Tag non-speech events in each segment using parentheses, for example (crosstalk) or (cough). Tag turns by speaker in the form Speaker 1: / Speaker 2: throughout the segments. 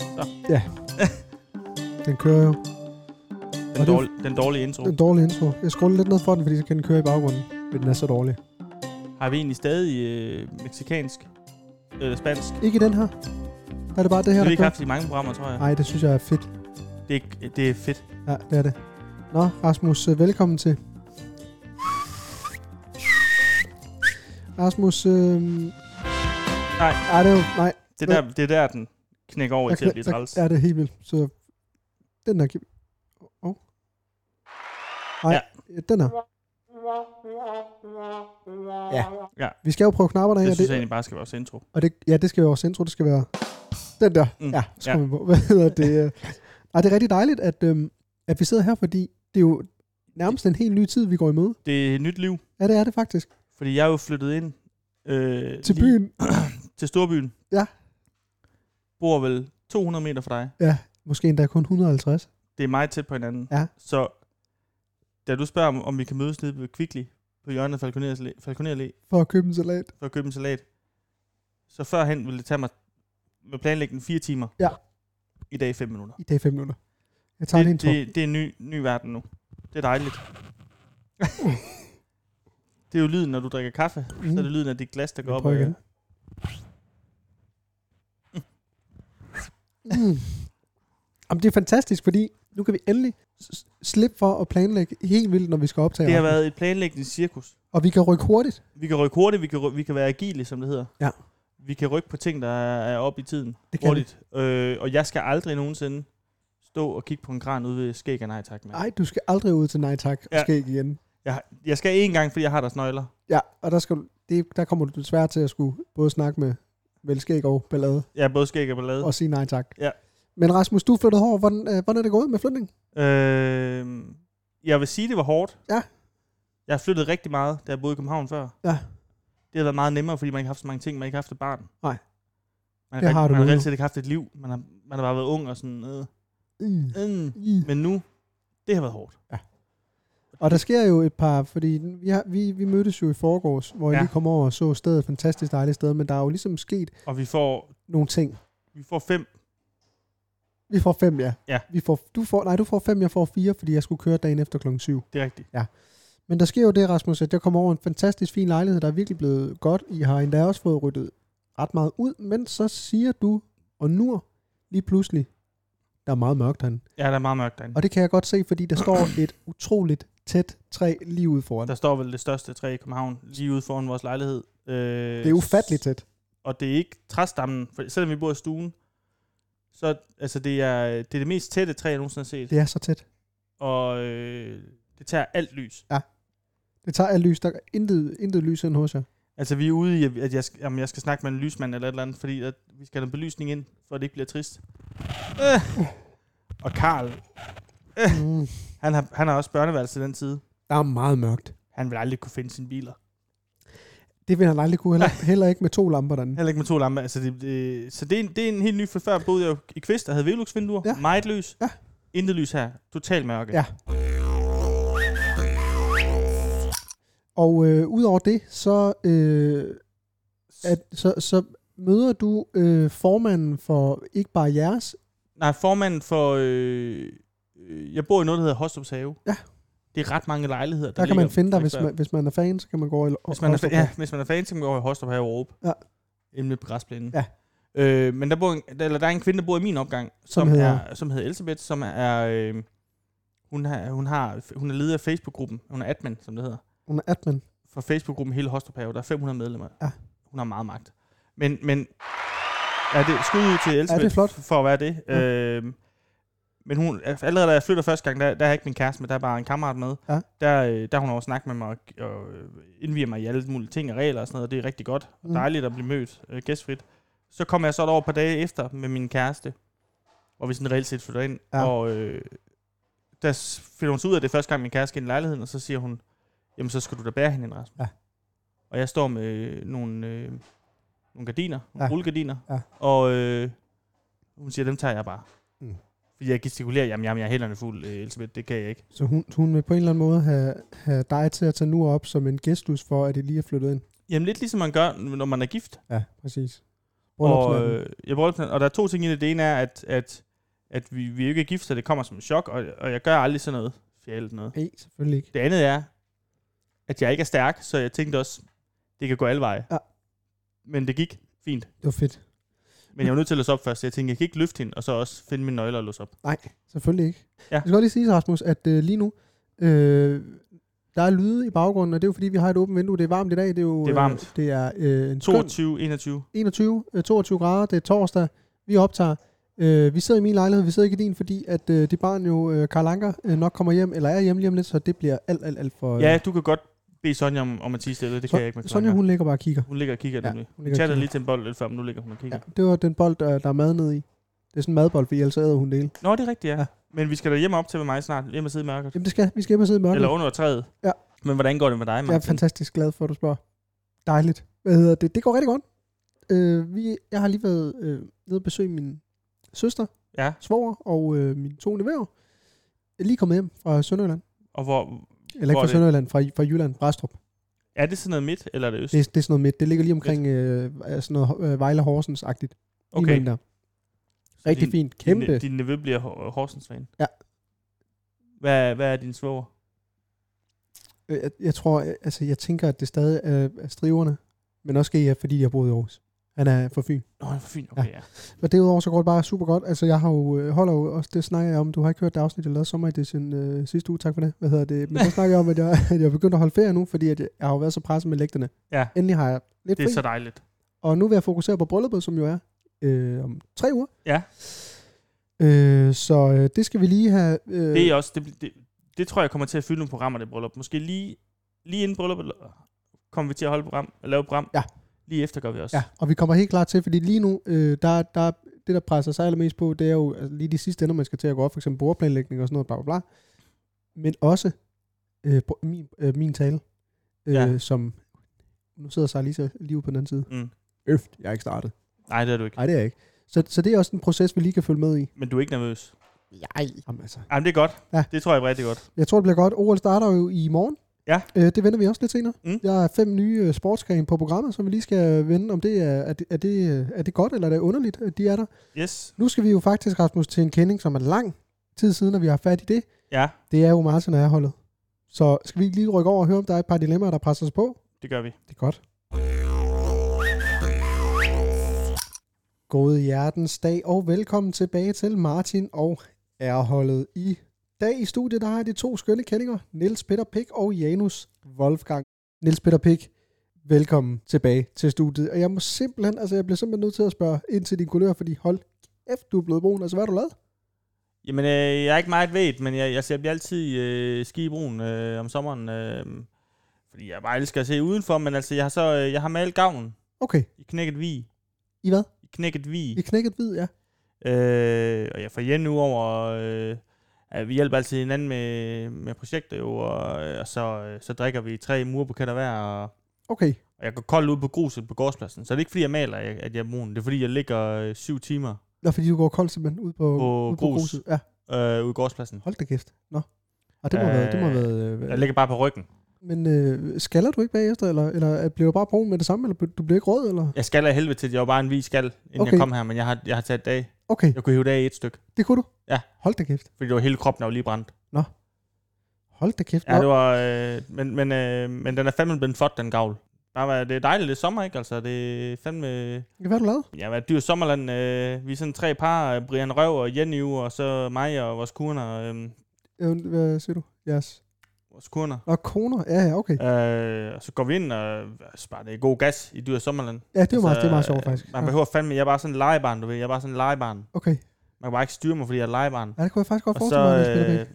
Speaker 1: Så.
Speaker 2: Den kører jo.
Speaker 1: Den,
Speaker 2: Og det er jo-
Speaker 1: dårlige, den dårlige intro.
Speaker 2: Den dårlige intro. Jeg scroller lidt ned for den, fordi så kan den køre i baggrunden. Men den er så dårlig.
Speaker 1: Har vi egentlig stadig øh, meksikansk? Eller spansk?
Speaker 2: Ikke i den her. Der er det bare det
Speaker 1: Det
Speaker 2: her,
Speaker 1: har vi
Speaker 2: der
Speaker 1: ikke
Speaker 2: kører.
Speaker 1: haft i mange programmer, tror jeg.
Speaker 2: Nej, det synes jeg er fedt.
Speaker 1: Det er, det er fedt.
Speaker 2: Ja, det er det. Nå, Rasmus, øh, velkommen til. Rasmus, øh...
Speaker 1: Nej.
Speaker 2: Ej, det er jo... Nej,
Speaker 1: Det er der, det er der den knækker over i til at blive træls.
Speaker 2: der, er det helt vildt. Så den der... kan- Åh. Oh. Nej, ja. den her. Ja.
Speaker 1: Ja.
Speaker 2: Vi skal jo prøve knapperne af,
Speaker 1: Det
Speaker 2: og
Speaker 1: synes
Speaker 2: det,
Speaker 1: jeg egentlig bare skal være vores intro.
Speaker 2: og det, ja, det skal være vores intro, det skal være den der.
Speaker 1: Mm,
Speaker 2: Mm. Ja, så
Speaker 1: ja.
Speaker 2: ja. vi på. (laughs) Hvad hedder det? øh? Ej, det er rigtig dejligt, at, øhm, at vi sidder her, fordi det er jo nærmest en helt ny tid, vi går i møde.
Speaker 1: Det er et nyt liv,
Speaker 2: Ja, det er det faktisk.
Speaker 1: fordi jeg er jo flyttet ind øh,
Speaker 2: Til
Speaker 1: lige-
Speaker 2: byen.
Speaker 1: til storbyen.
Speaker 2: Ja.
Speaker 1: Bor vel 200 meter fra dig.
Speaker 2: Måske endda kun 150.
Speaker 1: Det er meget tæt på hinanden.
Speaker 2: Ja.
Speaker 1: Så da du spørger, om- om vi kan mødes nede ved Kvickly på hjørnet af Falconer's Allé- Falconer Allé
Speaker 2: For at købe en salat.
Speaker 1: for at købe en salat, så førhen ville det tage mig med planlægningen fire timer.
Speaker 2: Ja.
Speaker 1: I dag fem minutter.
Speaker 2: I dag 5 minutter. Jeg tager lige en
Speaker 1: det,
Speaker 2: tur.
Speaker 1: det, det er en ny, ny verden nu. Det er dejligt.
Speaker 2: (laughs)
Speaker 1: det er jo lyden, når du drikker kaffe. Mm. Så er det lyden af dit glas, der går op.
Speaker 2: Prøv
Speaker 1: og-
Speaker 2: igen. Mm. Jamen, det er fantastisk, fordi nu kan vi endelig s- s- slippe for at planlægge helt vildt, når vi skal optage.
Speaker 1: Det har
Speaker 2: aften.
Speaker 1: været et planlægningscirkus.
Speaker 2: Og vi kan rykke hurtigt.
Speaker 1: Vi kan rykke hurtigt, vi kan, ry- vi kan være agile, som det hedder.
Speaker 2: Ja.
Speaker 1: Vi kan rykke på ting, der er, er op i tiden
Speaker 2: Det kan
Speaker 1: hurtigt. Øh, og jeg skal aldrig nogensinde stå og kigge på en kran ude ved skæg og nej tak. mand.
Speaker 2: Nej, du skal aldrig ud til nej tak og
Speaker 1: Ja.
Speaker 2: ja. skæg igen.
Speaker 1: Jeg, har- jeg skal én gang, fordi jeg har deres nøgler.
Speaker 2: Ja, og der, skal, du- det, der kommer du desværre til at skulle både snakke med vel skæg og ballade
Speaker 1: Jeg er både skæg og ballade.
Speaker 2: og sige nej tak.
Speaker 1: Ja.
Speaker 2: Men Rasmus, du flyttede over. Hvordan, øh, hvordan er det gået med flytning?
Speaker 1: Øh, jeg vil sige, det var hårdt.
Speaker 2: Ja.
Speaker 1: Jeg har flyttet rigtig meget, da jeg boede i København før.
Speaker 2: Ja.
Speaker 1: Det har været meget nemmere, fordi man ikke har haft så mange ting. Man ikke har haft et barn.
Speaker 2: Nej.
Speaker 1: Man,
Speaker 2: Det
Speaker 1: rigt-
Speaker 2: har du
Speaker 1: man har
Speaker 2: nu.
Speaker 1: reelt set ikke haft et liv. Man har, man har bare været ung og sådan... Øh,
Speaker 2: Mm.
Speaker 1: øh.
Speaker 2: Mm.
Speaker 1: Men nu, det har været hårdt.
Speaker 2: Og der sker jo et par, fordi vi, har, vi, vi mødtes jo i forgårs, hvor ja.
Speaker 1: Ja.
Speaker 2: jeg lige kom over og så stedet, fantastisk dejligt sted, men der er jo ligesom sket
Speaker 1: Og vi får,
Speaker 2: nogle ting.
Speaker 1: vi får fem
Speaker 2: Vi får fem, ja.
Speaker 1: Ja.
Speaker 2: Vi får, du får, nej, du får fem, jeg får fire, fordi jeg skulle køre dagen efter klokken 7.
Speaker 1: Det er rigtigt.
Speaker 2: Men der sker jo det, Rasmus, at jeg kommer over en fantastisk fin lejlighed, der er virkelig blevet godt. I har endda også fået ryddet ret meget ud, men så siger du, og nu lige pludselig, der er meget mørkt herinde.
Speaker 1: Ja, der er meget mørkt derinde.
Speaker 2: Og det kan jeg godt se, fordi der står et utroligt tæt træ lige ude foran.
Speaker 1: Der står vel det største træ i København lige ude foran vores lejlighed. Øh,
Speaker 2: Det er ufatteligt tæt.
Speaker 1: Og det er ikke træstammen, for selvom vi bor i stuen, så altså, det er det, er det mest tætte træ, jeg nogensinde har set.
Speaker 2: Det er så tæt.
Speaker 1: Og øh, det tager alt lys.
Speaker 2: Det tager alt lys. Der er intet, intet lys ind hos jer.
Speaker 1: Altså, vi er ude i, at- at jeg, skal- jamen, jeg skal snakke med en lysmand eller et eller andet, fordi at vi skal have noget belysning ind, for at det ikke bliver trist. Øh. Og Karl,
Speaker 2: Mm.
Speaker 1: han har, han har også børneværelse til den side.
Speaker 2: Der er meget mørkt.
Speaker 1: Han vil aldrig kunne finde sine biler.
Speaker 2: Det vil han aldrig kunne. Heller, heller ikke med to lamper derinde.
Speaker 1: Heller ikke med to lamper. Altså det, det, så det er, en, det er en helt ny, for før boede jeg jo i Kvist, der havde velux-vinduer. Ja.
Speaker 2: Ja.
Speaker 1: Meget lys.
Speaker 2: Ja.
Speaker 1: Intet lys her. Total mørke.
Speaker 2: Ja. Og øh, udover det, så, øh, at, så, så møder du øh, formanden for ikke bare jeres.
Speaker 1: Nej, formanden for... Øh, øh, jeg bor i noget, der hedder Hostrups Have.
Speaker 2: Ja.
Speaker 1: Det er ret mange lejligheder,
Speaker 2: Der kan man
Speaker 1: ligger
Speaker 2: finde dig,
Speaker 1: på
Speaker 2: hvis man, hvis man er fan, så kan man gå og,
Speaker 1: Hvis man, er, fa- ja, hvis man er fan, så kan man gå over i Hostrup Have og råbe.
Speaker 2: Ja.
Speaker 1: Inden på græsplænen.
Speaker 2: Ja.
Speaker 1: Øh, men der, bor en, der, eller der er en kvinde, der bor i min opgang, som,
Speaker 2: Som hedder?
Speaker 1: er, som hedder Elisabeth, som er... Øh, hun, har, hun, har, hun er leder af Facebook-gruppen. Hun er admin, som det hedder.
Speaker 2: Under admin.
Speaker 1: for Facebook-gruppen hele Hostrup Have, der er 500 medlemmer.
Speaker 2: Ja.
Speaker 1: Hun har meget magt. Men, men er det skud ud til Elisabeth
Speaker 2: Ja, det er flot.
Speaker 1: f- for at være det.
Speaker 2: Ja.
Speaker 1: Ja. Øhm, men hun, allerede da jeg flytter første gang, der, der er ikke min kæreste, men der er bare en kammerat med.
Speaker 2: Ja.
Speaker 1: Der, øh, der har hun over snakket med mig og, og øh, indviger mig i alle mulige ting og regler og sådan noget, og det er rigtig godt.
Speaker 2: Mm.
Speaker 1: Dejligt at blive mødt øh, gæstfrit. Så kom jeg så over et par dage efter med min kæreste, hvor vi sådan reelt set flytter ind.
Speaker 2: Ja.
Speaker 1: Ja. Og øh, der s- finder hun så ud af det er første gang, min kæreste skal ind i lejligheden, og så siger hun, jamen så skal du da bære hende, ind, Rasmus.
Speaker 2: Ja.
Speaker 1: Og jeg står med øh, nogle, øh, nogle gardiner,
Speaker 2: Ja.
Speaker 1: nogle ja. rullegardiner,
Speaker 2: Ja.
Speaker 1: og øh, hun siger, dem tager jeg bare.
Speaker 2: Mm.
Speaker 1: Mm. Fordi jeg gestikulerer, jamen, jamen jeg er hænderne fuld, øh, Elisabeth, det kan jeg ikke.
Speaker 2: Mm. Så hun, hun vil på en eller anden måde have, have dig til at tage nu op som en gæsthus for, at I lige er flyttet ind.
Speaker 1: Jamen lidt ligesom man gør, når man er gift.
Speaker 2: Ja, præcis.
Speaker 1: Og,
Speaker 2: bryllupsnatten.
Speaker 1: øh, ja, bryllupsnatten. og der er to ting i det. Det ene er, at, at, at vi, vi er jo ikke er gift, så det kommer som en chok, og, og jeg gør aldrig sådan noget fjældet noget.
Speaker 2: Nej, selvfølgelig ikke.
Speaker 1: Det andet er, at jeg ikke er stærk, så jeg tænkte også, det kan gå alle veje.
Speaker 2: Ja.
Speaker 1: Men det gik fint.
Speaker 2: Det var fedt.
Speaker 1: Men jeg var nødt til at låse op først. Jeg tænkte, jeg kan ikke løfte hende, og så også finde mine nøgler og låse op.
Speaker 2: Selvfølgelig ikke.
Speaker 1: Ja.
Speaker 2: Jeg skal godt lige sige, Rasmus, at øh, lige nu, øh, der er lyde i baggrunden, og det er jo fordi, vi har et åbent vindue. Det er varmt i dag. Det er, jo,
Speaker 1: Det er varmt.
Speaker 2: Øh, det er øh, en skøn
Speaker 1: 22, 21.
Speaker 2: 21, øh, 22 grader. Det er torsdag. Vi optager. Øh, vi sidder i min lejlighed, vi sidder ikke i din, fordi at øh, dit barn jo, øh, Karl Anker, øh, nok kommer hjem, eller er hjemme lige om lidt, så det bliver alt, alt, alt for... Øh,
Speaker 1: Ja, du kan godt bede Sonja om, om at tige stille. Det
Speaker 2: Så-
Speaker 1: kan jeg ikke med
Speaker 2: Sonja,
Speaker 1: Klanker.
Speaker 2: hun ligger bare og kigger.
Speaker 1: hun ligger og kigger ja, nemlig.
Speaker 2: hun
Speaker 1: Hun
Speaker 2: ligger og
Speaker 1: chatter
Speaker 2: kigger.
Speaker 1: lige til en bold lidt før, men nu ligger hun og kigger.
Speaker 2: Ja,
Speaker 1: Ja.
Speaker 2: det var den bold, der, der er mad nede i. Det er sådan en madbold, for ellers æder hun det hele.
Speaker 1: Nå, det er rigtigt, ja.
Speaker 2: Ja.
Speaker 1: ja. Men vi skal da hjem op til med mig snart. Hjem og sidde i mørket.
Speaker 2: Jamen det skal, vi skal hjem og sidde i mørket.
Speaker 1: Eller under træet.
Speaker 2: Ja.
Speaker 1: Men hvordan går det med dig,
Speaker 2: Jeg er
Speaker 1: Martin?
Speaker 2: fantastisk glad for, at du spørger. Dejligt. Hvad hedder det? Det går rigtig godt. Øh, vi, jeg har lige været øh, nede og besøge min søster,
Speaker 1: Ja,
Speaker 2: svoger og øh, mine to nevøer. Jeg er lige kommet hjem fra Sønderjylland.
Speaker 1: og hvor...
Speaker 2: Eller ikke
Speaker 1: Hvor
Speaker 2: fra
Speaker 1: er det?
Speaker 2: Sønderjylland, fra, fra Jylland, Brastrup.
Speaker 1: Er det sådan noget midt, eller er det øst?
Speaker 2: Det, er- det er sådan noget midt. Det ligger lige omkring øh, er sådan noget øh, Vejle Horsens-agtigt. Lige imellem Der.
Speaker 1: Så
Speaker 2: Rigtig
Speaker 1: din-
Speaker 2: fint. Kæmpe.
Speaker 1: Din, din nevø bliver Hor- Horsens-fan.
Speaker 2: Ja.
Speaker 1: Hvad, hvad er din svoger?
Speaker 2: Øh, Jeg, jeg tror, øh, altså jeg tænker, at det stadig er, er striverne. Men også GF, fordi jeg boede i Aarhus. Han er fra Fyn.
Speaker 1: Nå, for fint. Okay, ja.
Speaker 2: Og derudover så går det bare super godt. Altså jeg har jo, øh, holder jo også, det snakker jeg om, du har ikke hørt det afsnit, jeg lavede sommeredition øh, sidste uge, tak for det. Hvad hedder det? Men så snakker jeg om, at jeg, (laughs) at jeg er begyndt at holde ferie nu, fordi at jeg, jeg har jo været så presset med lægterne.
Speaker 1: Ja.
Speaker 2: Endelig har jeg lidt
Speaker 1: Det er
Speaker 2: fri,
Speaker 1: så dejligt.
Speaker 2: og nu vil jeg fokusere på brylluppet, som jo er øh, om tre uger.
Speaker 1: Ja.
Speaker 2: Øh, så øh, det skal vi lige have... Øh,
Speaker 1: Det, er også, det, det, det tror jeg kommer til at fylde nogle programmer, det bryllup. Måske lige, lige inden brylluppet eller- kommer vi til at holde program, at lave et program.
Speaker 2: Ja.
Speaker 1: Lige efter gør vi også.
Speaker 2: Ja, og vi kommer helt klart til, fordi lige nu, øh, der, der, det der presser sig allermest på, det er jo altså, lige de sidste ender, man skal til at gå op, for eksempel bordplanlægning og sådan noget, bla bla bla. Men også øh, bro- min, øh, min tale, øh,
Speaker 1: Ja.
Speaker 2: som, nu sidder sig lige, så lige ude på den anden side.
Speaker 1: Mm.
Speaker 2: Øft, jeg er ikke startet.
Speaker 1: Nej, det er du ikke.
Speaker 2: Nej, det er jeg ikke. Så, så det er også en proces, vi lige kan følge med i.
Speaker 1: Men du er ikke nervøs.
Speaker 2: Nej. Jamen, altså.
Speaker 1: Jamen, det er godt.
Speaker 2: Ja.
Speaker 1: Det tror jeg er rigtig godt.
Speaker 2: Jeg tror, det bliver godt. OL starter jo i morgen.
Speaker 1: Ja.
Speaker 2: Øh, det vender vi også lidt senere.
Speaker 1: Mm.
Speaker 2: Der er fem nye øh, sportsgrene på programmet, som vi lige skal vende, om det er, er, det, er, det, øh, er det godt, eller er det underligt, at de er der.
Speaker 1: Yes.
Speaker 2: Nu skal vi jo faktisk, Rasmus, til en kending, som er lang tid siden, at vi har fat i det.
Speaker 1: Ja,
Speaker 2: Det er jo Martin og jeg holdet. Så skal vi ikke lige rykke over og høre, om der er et par dilemmaer, der presser os på?
Speaker 1: det gør vi.
Speaker 2: Det er godt. God hjertens dag, og velkommen tilbage til Martin og R-holdet. I dag i studiet, der har jeg de to skønne kendinger, Niels Peter Pick og Janus Wolfgang. Niels Peter Pick, velkommen tilbage til studiet. Og jeg må simpelthen, altså jeg bliver simpelthen nødt til at spørge ind til din kulør, fordi hold kæft, du er blevet brun. Altså, hvad har du lavet?
Speaker 1: Jamen, øh, jeg er ikke meget ved, men jeg, jeg, jeg bliver altid øh, ski i brun øh, om sommeren. Øh, fordi jeg bare elsker at se udenfor, men altså, jeg har, så, øh, jeg har malet gavnen
Speaker 2: Okay,
Speaker 1: i knækket vi.
Speaker 2: I hvad?
Speaker 1: I knækket vi.
Speaker 2: I knækket hvid, ja.
Speaker 1: Øh, og jeg får igen nu over, øh, at vi hjælper altid hinanden med, med projekter jo, og, øh, og så, øh, så drikker vi tre murbuketter hver, og,
Speaker 2: Okay,
Speaker 1: og jeg går kold ud på gruset på gårdspladsen. Så det er ikke fordi, jeg maler, jeg- at jeg er brun. Det er fordi, jeg ligger øh, syv timer
Speaker 2: Nå, fordi du går kold simpelthen ud på,
Speaker 1: På
Speaker 2: ud på
Speaker 1: grus.
Speaker 2: gruset. Ja,
Speaker 1: øh, ude i gårdspladsen.
Speaker 2: hold da kæft. Nå. Og det må øh, have været, det må have været øh,
Speaker 1: Jeg ligger bare på ryggen.
Speaker 2: Men øh, skaller du ikke bagefter, eller, eller øh, bliver du bare brun med det samme, eller bl- du bliver ikke rød, eller?
Speaker 1: Jeg skal af helvede til, at jeg var bare en vis skal, inden okay.
Speaker 2: Okay.
Speaker 1: jeg kom her, men jeg har, jeg har taget dag.
Speaker 2: Okay,
Speaker 1: Jeg kunne hive det af i et stykke,
Speaker 2: det kunne du?
Speaker 1: Ja.
Speaker 2: Hold da kæft.
Speaker 1: fordi det var hele kroppen, der var lige brændt.
Speaker 2: Hold da kæft.
Speaker 1: Ja, det var, øh, men, men, øh, men den er fandme blevet flot, den gavl. Bare, hvad- det er dejligt, det er sommer, ikke? Altså, det er fandme...
Speaker 2: Hvad har du lavet?
Speaker 1: Ja, hvad dyr sommerland. Øh, vi er sådan tre par, øh, Brian Røv og Jenny U, og så mig og vores kurner. Øh,
Speaker 2: Øh, Hvad siger du? Yes.
Speaker 1: vores kurner.
Speaker 2: Nå, koner. Ja, ja, okay.
Speaker 1: Øh, og så går vi ind og sparer det god gas i dyr sommerland.
Speaker 2: Ja, det er, jo meget,
Speaker 1: Altså,
Speaker 2: det er meget sjovt, faktisk.
Speaker 1: Man
Speaker 2: Ja.
Speaker 1: behøver fandme, jeg er bare sådan en legebarn, du ved. Jeg er bare sådan en legebarn.
Speaker 2: Okay.
Speaker 1: Man kan bare ikke styre mig, fordi jeg er legebarn.
Speaker 2: Ja, det kunne jeg faktisk godt
Speaker 1: Og
Speaker 2: forestille
Speaker 1: så
Speaker 2: mig, at spiller
Speaker 1: øh,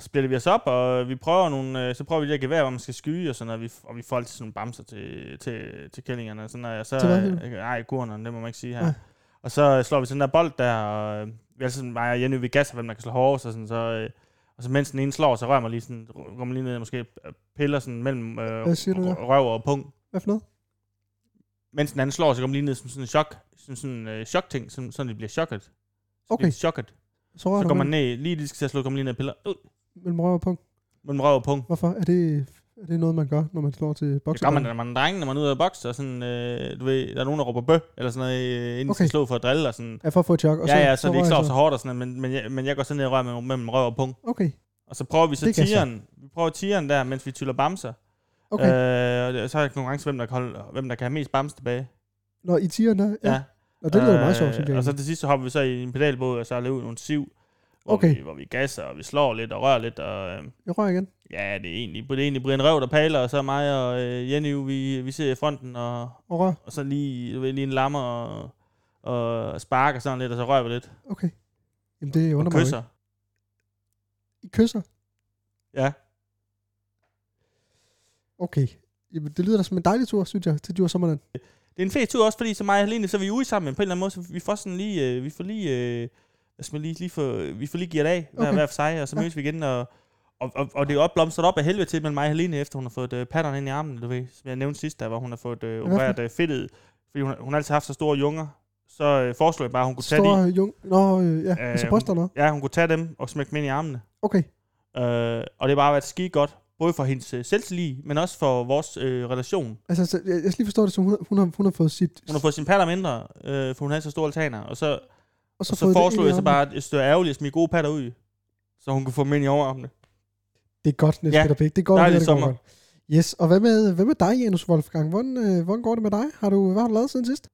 Speaker 1: splitter vi os op, og vi prøver nogle, øh, så prøver vi det her gevær, hvor man skal skyde, og, sådan, og, vi, og vi får altid sådan nogle bamser til, til, til kællingerne. Og sådan, og så,
Speaker 2: Til hvad, siger du?
Speaker 1: øh, nej, kurnerne, det må man ikke sige her.
Speaker 2: Nej.
Speaker 1: Og så øh, slår vi sådan der bold der, og øh, vi er altid sådan, mig og Jenny, vi gasser, hvem der kan slå hårdest, og sådan, så, øh, og så mens den ene slår, så rører man lige sådan, rører man lige ned, og måske øh, piller sådan mellem øh,
Speaker 2: Hvad siger du der?
Speaker 1: rø- røv og pung.
Speaker 2: Hvad for noget?
Speaker 1: Mens den anden slår, så går man lige ned som sådan en chok, sådan, sådan øh, chokting, sådan, sådan det bliver chokket. Så
Speaker 2: Okay,
Speaker 1: bliver de chokket.
Speaker 2: så rører
Speaker 1: Så
Speaker 2: du
Speaker 1: går man ned, lige lige skal til at slå, går man lige ned og piller, øh,
Speaker 2: mellem røv og pung.
Speaker 1: mellem røv og pung.
Speaker 2: Hvorfor? Er det Er det noget, man gør, når man slår til
Speaker 1: Det gør
Speaker 2: boksen?
Speaker 1: man, når man er drenge, når man er ude af boks, og sådan, øh, du ved, der er nogen, der råber bø, eller sådan noget, øh, inden okay.
Speaker 2: Okay.
Speaker 1: slå for at drille, og sådan.
Speaker 2: Ja, for at få et chok. Og
Speaker 1: ja, ja, så, det
Speaker 2: rører
Speaker 1: ikke slår
Speaker 2: jeg
Speaker 1: så hårdt og sådan noget, men, men, jeg, men jeg går sådan ned og rører med, mellem røv og pung.
Speaker 2: Okay,
Speaker 1: Og så prøver vi så
Speaker 2: Det kan jeg så.
Speaker 1: tieren. Vi prøver tieren der, mens vi tyller bamser.
Speaker 2: okay. Øh.
Speaker 1: Øh, og det- så er der konkurrence, hvem der, kan holde, hvem der kan have mest bamse tilbage. Øh,
Speaker 2: Når i tieren der, ja. ja. Og det lyder meget sjovt, synes jeg.
Speaker 1: Og så til sidst, så hopper vi så i en pedalbåd, og så løber nogle siv, hvor,
Speaker 2: Okay.
Speaker 1: vi, hvor vi gasser, og vi slår lidt og rører lidt, og... Øh,
Speaker 2: Jeg rører igen.
Speaker 1: Ja, det er egentlig, det er egentlig Brian Røv, der paler, og så mig og øh, Jenny, vi, vi sidder i fronten, og,
Speaker 2: Og rører.
Speaker 1: og så lige, du ved, lige en lammer og, og sparker sådan lidt, og så rører vi lidt.
Speaker 2: Okay. Jamen, det
Speaker 1: Og
Speaker 2: undrer mig jo
Speaker 1: kysser.
Speaker 2: ikke. I kysser?
Speaker 1: Ja.
Speaker 2: Okay. Jamen, det lyder da som en dejlig tur, synes jeg, til Djurs Sommerland.
Speaker 1: Det er en fed tur også, fordi så mig og Helene, så er vi ude sammen på en eller anden måde, så vi får sådan lige, øh, vi får lige, øh, hvad skal man lige, lige for, vi får lige givet af hver,
Speaker 2: Okay.
Speaker 1: hver for sig, og så
Speaker 2: Ja.
Speaker 1: mødes vi igen, og, og, og, og det er opblomstret op af helvede til mellem mig og Helene, efter hun har fået øh, patterne ind i armen, du ved, som jeg nævnte sidst, der, hvor hun har fået øh,
Speaker 2: for noget?
Speaker 1: opereret øh, fedtet, fordi hun, hun har altid haft så store junger, så øh, foreslog jeg bare, at hun kunne tage de
Speaker 2: Store jung... Nå, øh, ja. Øh, altså
Speaker 1: Øh,
Speaker 2: bryster noget.
Speaker 1: Ja, hun kunne tage dem og smække dem ind i armene.
Speaker 2: Okay.
Speaker 1: Øh, og det har bare været skide godt. Både for hendes øh, selvtillid, men også for vores øh, relation.
Speaker 2: Altså, så, jeg, jeg skal lige forstå det, som hun, hun, har, hun har fået sit...
Speaker 1: Hun har fået sin patter mindre, øh, for hun havde så store altaner. Og så,
Speaker 2: og
Speaker 1: så, så
Speaker 2: fået det
Speaker 1: foreslog
Speaker 2: ind i
Speaker 1: jeg så
Speaker 2: armen.
Speaker 1: bare, at det var ærgerligt at smide gode patter ud. Så hun kunne få dem ind i overarmene.
Speaker 2: Det er godt, Niels
Speaker 1: Ja,
Speaker 2: ja. Peter Pick. Det går
Speaker 1: dejlig
Speaker 2: det går
Speaker 1: sommer.
Speaker 2: godt. Yes, og hvad med, hvad med dig, Janus Wolfgang? Hvordan, øh, hvordan går det med dig? Har du, hvad har du lavet siden sidst?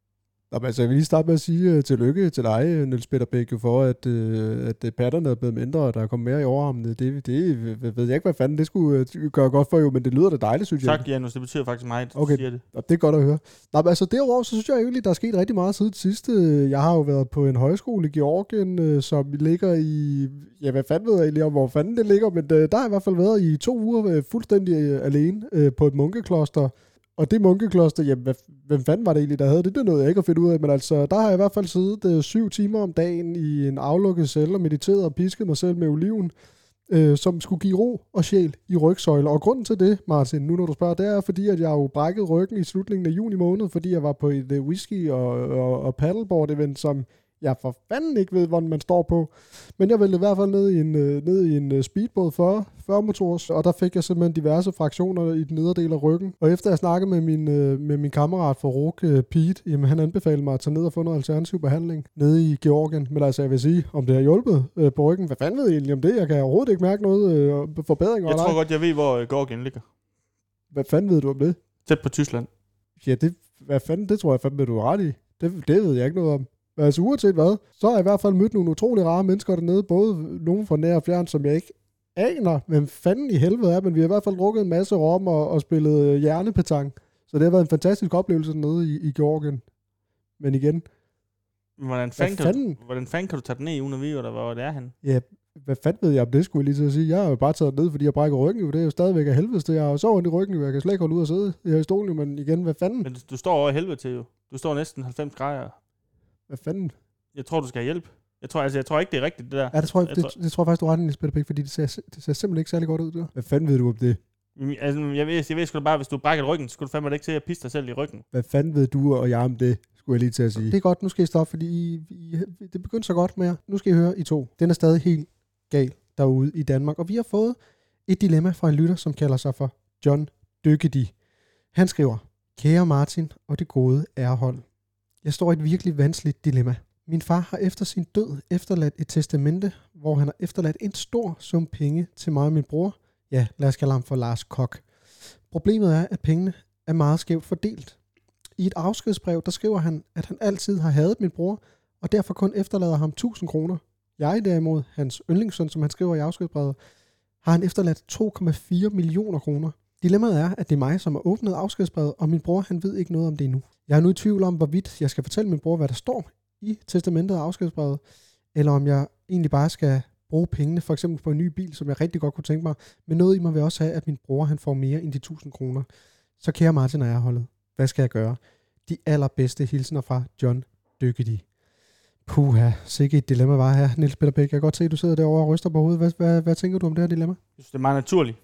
Speaker 3: Jamen, altså, jeg vil lige starte med at sige uh, tillykke til dig, øh, Niels Peter Bæk, jo for at, uh, at øh, patterne er blevet mindre, og der er kommet mere i overarmene. Det, det øh, ved jeg ikke, hvad fanden det skulle uh, gøre godt for, jo, men det lyder da dejligt, synes jeg.
Speaker 1: Tak, Janus. Det betyder faktisk meget, at du
Speaker 3: Okay.
Speaker 1: siger det.
Speaker 3: Og det er godt at høre. Nå, men altså derudover, så synes jeg egentlig, der er sket rigtig meget siden det sidste. Jeg har jo været på en højskole i Georgien, øh, som ligger i... Ja, hvad fanden ved jeg egentlig om, hvor fanden det ligger, men øh, der har jeg i hvert fald været i to uger øh, fuldstændig øh, alene øh, på et munkekloster. Og det munkekloster, jamen, hvad, hvem fanden var det egentlig, der havde det? Det nåede jeg ikke at finde ud af, men altså, der har jeg i hvert fald siddet øh, syv timer om dagen i en aflukket celle og mediteret og pisket mig selv med oliven, øh, som skulle give ro og sjæl i rygsøjler. Og grunden til det, Martin, nu når du spørger, det er fordi, at jeg jo brækkede ryggen i slutningen af juni måned, fordi jeg var på et øh, whisky- og, og, og paddleboard-event, som jeg for fanden ikke ved, hvordan man står på. Men jeg væltede i hvert fald ned i en, øh, ned i en øh, speedbåd 40, 40 motors, og der fik jeg simpelthen diverse fraktioner i den nedre del af ryggen. Og efter jeg snakkede med min, øh, med min kammerat fra Ruk, øh, Pete, jamen han anbefalede mig at tage ned og få noget alternativ behandling nede i Georgien. Men altså, jeg vil sige, om det har hjulpet øh, på ryggen, hvad fanden ved jeg egentlig om det? Jeg kan overhovedet ikke mærke noget øh, forbedring.
Speaker 1: Jeg tror godt, jeg ved, hvor øh, Georgien ligger.
Speaker 3: Hvad fanden ved du om det?
Speaker 1: Tæt på Tyskland.
Speaker 3: Ja, det, hvad fanden, det tror jeg fandme, du er ret i. Det, det ved jeg ikke noget om. Men altså uanset hvad, så har jeg i hvert fald mødt nogle utrolig rare mennesker dernede, både nogen fra nær og fjern, som jeg ikke aner, hvem fanden i helvede er, men vi har i hvert fald drukket en masse rom og, og spillet øh, hjernepetang. Så det har været en fantastisk oplevelse dernede i, i Georgien. Men igen,
Speaker 1: Men Hvordan
Speaker 3: hvad
Speaker 1: fanden, kan du,
Speaker 3: fanden,
Speaker 1: hvordan fanden kan du tage den ned, uden at vide, hvor der- hvor det er han?
Speaker 3: hvad fanden ved jeg om det, skulle jeg lige til at sige. Jeg har jo bare taget den ned, fordi jeg brækker ryggen, jo. det er jo stadigvæk af helvede. det. Jeg har jo så ondt i ryggen, jo. jeg kan slet ikke holde ud og sidde her i stolen, jo. men igen, hvad fanden,
Speaker 1: Men du, du står over i helvede til jo. Du står næsten 90 grader.
Speaker 3: hvad fanden?
Speaker 1: Jeg tror, du skal have hjælp. Jeg tror, altså, jeg tror ikke, det er rigtigt, det der.
Speaker 2: Ja, det tror jeg,
Speaker 1: Jeg
Speaker 2: det,
Speaker 1: tror-
Speaker 2: det, tror jeg faktisk, du har ret, i, Niels Peter Pick, fordi det ser, det ser simpelthen ikke særlig godt ud, det der.
Speaker 3: Hvad fanden ved du om det?
Speaker 1: Mm, Altså, jeg ved, jeg ved sgu da bare, hvis du brækker ryggen, så skulle du fandme da ikke til at pisse dig selv i ryggen.
Speaker 3: Hvad fanden ved du og jeg om det, skulle jeg lige til at sige.
Speaker 2: Det er godt, nu skal I stoppe, fordi I, I, det begyndte så godt med jer. Nu skal I høre, I to. Den er stadig helt gal derude i Danmark. Og vi har fået et dilemma fra en lytter, som kalder sig for John Dykkedi. Han skriver, Kære Martin og det gode ærehold. Jeg står i et virkelig vanskeligt dilemma. Min far har efter sin død efterladt et testamente, hvor han har efterladt en stor sum penge til mig og min bror. Ja, lad os kalde ham for Lars Kok. Problemet er, at pengene er meget skævt fordelt. I et afskedsbrev, der skriver han, at han altid har hadet min bror, og derfor kun efterlader ham 1000 kroner. Jeg derimod, hans yndlingssøn, som han skriver i afskedsbrevet, har han efterladt 2,4 millioner kroner. Dilemmaet er, at det er mig, som har åbnet afskedsbrevet, og min bror, han ved ikke noget om det endnu. Jeg er nu i tvivl om, hvorvidt jeg skal fortælle min bror, hvad der står i testamentet og afskedsbrevet, eller om jeg egentlig bare skal bruge pengene, for eksempel på en ny bil, som jeg rigtig godt kunne tænke mig, men noget i mig vil også have, at min bror han får mere end de 1000 kroner. Så kære Martin og jeg holdet, hvad skal jeg gøre? de allerbedste hilsener fra John Dykkedi. Puha, sikke et dilemma var her, Niels Peter Bæk. Jeg kan godt se, at du sidder derovre og ryster på hovedet. Hvad, hvad, hvad tænker du om det her dilemma?
Speaker 1: Jeg synes, det er meget naturligt,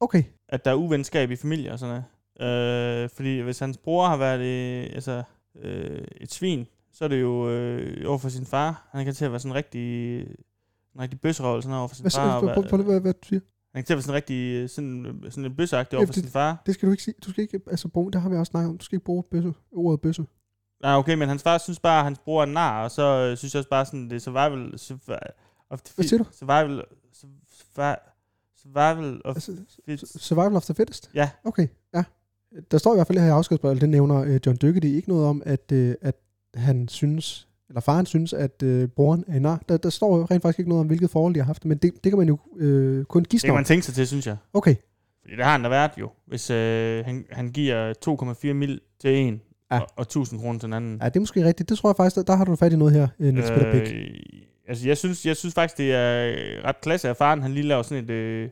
Speaker 2: Okay,
Speaker 1: at der er uvenskab i familier og sådan noget. Øh, fordi hvis hans bror har været øh, altså, øh, et svin, så er det jo øh, overfor sin far. Han kan til at være sådan en rigtig, en rigtig bøsserøv eller sådan noget overfor sin
Speaker 2: hvad,
Speaker 1: far. og
Speaker 2: prøv, prøv,
Speaker 1: være-
Speaker 2: prøv, hvad, hvad du siger?
Speaker 1: Han kan til at være sådan rigtig øh, sådan, sådan en bøsseagtig over
Speaker 2: Jamen,
Speaker 1: for sin far.
Speaker 2: Det skal du ikke sige. Du skal ikke, altså, bruge, det har vi også snakket om. Du skal ikke bruge bøsse, ordet bøsse.
Speaker 1: Nej, okay, men hans far synes bare, at hans bror er en nar, og så øh, synes jeg også bare sådan, det er survival... survi- Of the
Speaker 2: Hvad siger du?
Speaker 1: fit- Survival... Survival... Survival of
Speaker 2: Altså,
Speaker 1: fit.
Speaker 2: survival of the fittest?
Speaker 1: Ja.
Speaker 2: Okay, ja. Der står i hvert fald her i afskedsbrevet, det nævner øh, John Dykkerty ikke noget om, at, øh, at han synes, eller faren synes, at øh, broren er en nar. Der, der står jo rent faktisk ikke noget om, hvilket forhold de har haft, men det, det kan man jo øh, kun
Speaker 1: Det
Speaker 2: gisne
Speaker 1: kan
Speaker 2: om.
Speaker 1: man tænke sig til, synes jeg.
Speaker 2: Okay,
Speaker 1: Fordi det har han da været jo. Hvis øh, han, han giver 2,4 mil til en,
Speaker 2: Ja.
Speaker 1: ja. og, og 1000 kroner til den anden.
Speaker 2: ja, det er måske rigtigt. Det tror jeg faktisk, der, der har du fat i noget her, øh, Niels Peter Pick.
Speaker 1: altså, jeg synes, jeg synes faktisk, det er ret klasse af faren. Han lige laver sådan et... Øh,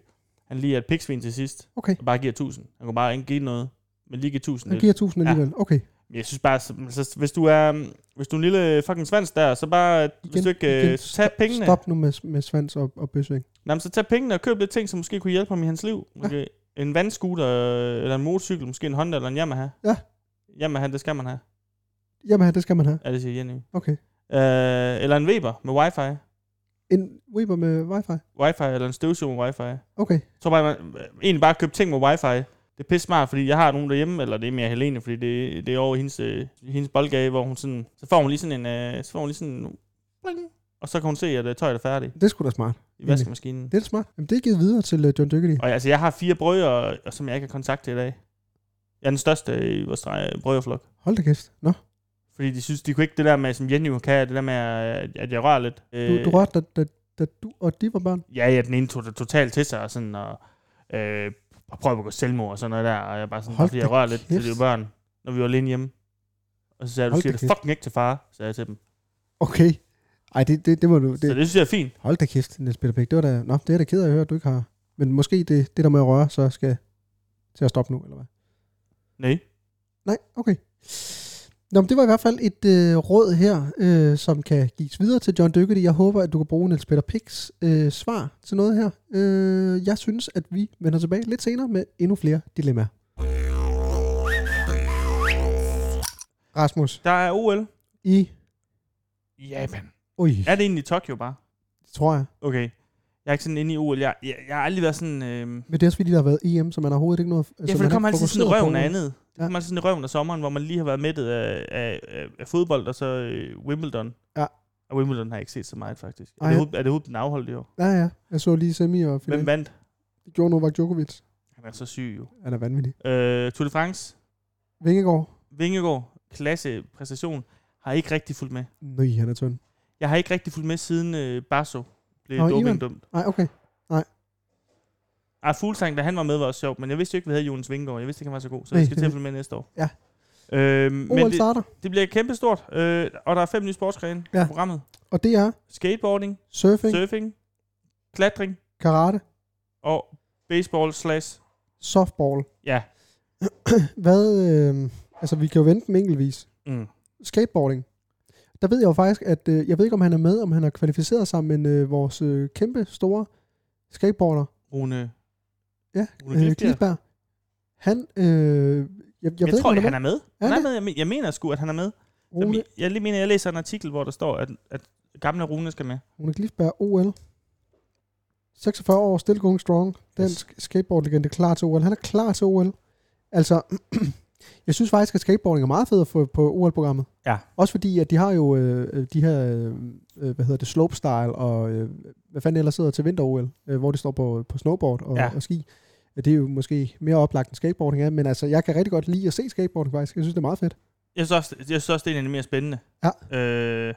Speaker 1: han lige er et piksvin til sidst,
Speaker 2: Okay,
Speaker 1: og bare giver 1000. Han kunne bare ikke give noget, men lige give 1000.
Speaker 2: han giver 1000
Speaker 1: mm. Ja.
Speaker 2: alligevel. Okay,
Speaker 1: Men Jeg synes bare, så, så, hvis, du er, hvis du er en lille fucking svans der, så bare, igen, hvis du ikke, igen, så tag
Speaker 2: Stop-
Speaker 1: pengene.
Speaker 2: Stop nu med, med svans og, og bøsse. ikke?
Speaker 1: Jamen, så tag pengene og køb lidt ting, som måske kunne hjælpe ham i hans liv. Okay. En vandscooter, øh, eller en motorcykel, måske en Honda eller en Yamaha.
Speaker 2: Ja.
Speaker 1: Yamaha, det skal man have.
Speaker 2: Jamen, det skal man have.
Speaker 1: Ja, det siger Jenny.
Speaker 2: Okay.
Speaker 1: Øh, eller en Weber med wifi.
Speaker 2: En Weber med wifi.
Speaker 1: Wifi, eller en støvsuger med wifi.
Speaker 2: Okay,
Speaker 1: Jeg tror bare, man øh, egentlig bare købe ting med wifi. Det er pisse smart, fordi jeg har nogen derhjemme, eller det er mere Helene, fordi det, det er over i hendes, øh, hendes boldgave, hvor hun sådan, så får hun lige sådan en, øh, så får hun lige sådan en, bling, og så kan hun se, at øh, tøjet er færdigt
Speaker 2: det er sgu da smart.
Speaker 1: i vaskemaskinen.
Speaker 2: Det er da smart. Jamen, det er givet videre til øh, John Dykkerty.
Speaker 1: Og jeg- altså, jeg har fire brødre, og- som jeg ikke har kontakt til i dag. Jeg er den største i vores dre- brødreflok.
Speaker 2: Hold da kæft. Nå,
Speaker 1: Fordi de synes, de kunne ikke det der med, som Jenny kan, det der med, at- at jeg rører lidt.
Speaker 2: du,
Speaker 1: Øh,
Speaker 2: du rørte, da, da, da du og de var børn.
Speaker 1: Ja, ja, den ene tog det totalt til sig, og sådan, og, øh, og prøvede at gå selvmord og sådan noget der, og jeg bare
Speaker 2: Hold
Speaker 1: sådan, Hold fordi
Speaker 2: da
Speaker 1: jeg rører lidt
Speaker 2: kæft.
Speaker 1: til de børn, når vi var alene hjemme. Og så sagde jeg, du
Speaker 2: Hold
Speaker 1: siger
Speaker 2: da
Speaker 1: det fucking ikke til far, sagde jeg til dem.
Speaker 2: Okay. Ej, det, det, det må du...
Speaker 1: Det. Så
Speaker 2: Det,
Speaker 1: det synes jeg er fint.
Speaker 2: hold da kæft, Niels Peter Bæk. Det var da... Nå, det er da ked af at høre, at du ikke har... Men måske det, det der med at røre, så skal til at stoppe nu, eller hvad?
Speaker 1: Nej.
Speaker 2: Nej, okay. Nå, men det var i hvert fald et øh, råd her, øh, som kan gives videre til John Dykkerty. Jeg håber, at du kan bruge Niels Peter Picks øh, svar til noget her. Øh, jeg synes, at vi vender tilbage lidt senere med endnu flere dilemmaer. Rasmus,
Speaker 1: Der er OL.
Speaker 2: i...
Speaker 1: Japan.
Speaker 2: Ui,
Speaker 1: Er det egentlig Tokyo bare?
Speaker 2: tror jeg.
Speaker 1: Okay. Jeg er ikke sådan inde i OL. Jeg, jeg, jeg har aldrig været sådan... Øh,
Speaker 2: Men det er også fordi, der har været EM, så man har overhovedet ikke noget...
Speaker 1: Ja, for det kommer altid sådan i røven af andet. Det
Speaker 2: Ja.
Speaker 1: kommer altid sådan i røven af sommeren, hvor man lige har været mættet af, af, af, af fodbold, og så øh, Wimbledon.
Speaker 2: Ja.
Speaker 1: Og Wimbledon har jeg ikke set så meget, faktisk.
Speaker 2: Ej,
Speaker 1: Er
Speaker 2: ja.
Speaker 1: det, hovedet- er det hovedet, den afholdt i år?
Speaker 2: Ja, ja. Jeg så lige semi og
Speaker 1: Hvem
Speaker 2: finalen.
Speaker 1: vandt?
Speaker 2: Det gjorde Novak Djokovic.
Speaker 1: Han er så syg jo.
Speaker 2: Han er vanvittig.
Speaker 1: Øh, Tour de France,
Speaker 2: Vingegaard.
Speaker 1: Vingegaard, klasse præstation, har ikke rigtig fulgt med.
Speaker 2: Nej, han er tynd.
Speaker 1: Jeg har ikke rigtig fulgt med siden øh, Barso blev
Speaker 2: Nå, Ivan.
Speaker 1: dopingdømt.
Speaker 2: Nej, okay.
Speaker 1: Ah, Fuglsang, da han var med, var også sjovt, men jeg vidste jo ikke, vi havde Jonas Vingegaard. Jeg vidste ikke, han var så god, så
Speaker 2: Nej,
Speaker 1: jeg skal
Speaker 2: det
Speaker 1: til
Speaker 2: ved-
Speaker 1: at følge med næste år.
Speaker 2: Ja.
Speaker 1: Øh, men
Speaker 2: OL
Speaker 1: det,
Speaker 2: starter,
Speaker 1: det bliver kæmpestort, øh, og der er fem nye sportsgrene
Speaker 2: Ja.
Speaker 1: i programmet.
Speaker 2: og det er
Speaker 1: Skateboarding,
Speaker 2: surfing,
Speaker 1: surfing, klatring
Speaker 2: karate,
Speaker 1: og baseball slash...
Speaker 2: softball.
Speaker 1: Ja.
Speaker 2: Hvad, øh, altså vi kan jo vente dem enkeltvis.
Speaker 1: Mm.
Speaker 2: Skateboarding. Der ved jeg jo faktisk, at øh, jeg ved ikke, om han er med, om han har kvalificeret sig, men øh, vores øh, kæmpe store skateboarder,
Speaker 1: Rune,
Speaker 2: ja,
Speaker 1: Rune
Speaker 2: øh,
Speaker 1: Glifbjerg.
Speaker 2: Klitberg, han, øh, jeg, jeg,
Speaker 1: Jeg,
Speaker 2: ved
Speaker 1: jeg tror
Speaker 2: ikke,
Speaker 1: ikke,
Speaker 2: om
Speaker 1: han er med.
Speaker 2: Er
Speaker 1: Han er
Speaker 2: det?
Speaker 1: med. Jeg, men- jeg mener sgu, at han er med.
Speaker 2: Rune,
Speaker 1: Jeg, jeg lige mener, jeg læser en artikel, hvor der står, at, at gamle Rune skal med.
Speaker 2: Rune Glifberg, OL. 46 år, still going strong. Dansk yes. skateboardlegende klar til OL. Han er klar til OL. Altså, (clears throat) jeg synes faktisk, at skateboarding er meget fedt at få på OL-programmet.
Speaker 1: Ja.
Speaker 2: Også fordi, at de har jo øh, øh, de her, øh, øh, hvad hedder det, slopestyle, og øh, hvad fanden ellers sidder til vinter-OL, øh, hvor de står på, på snowboard og, ja.
Speaker 1: Ja.
Speaker 2: og ski. Ja, Det er jo måske mere oplagt end skateboarding er, men altså, jeg kan rigtig godt lide at se skateboarding faktisk. Jeg synes, det er meget fedt.
Speaker 1: Jeg synes også, jeg synes også det er en af de mere spændende. Ja. Øh,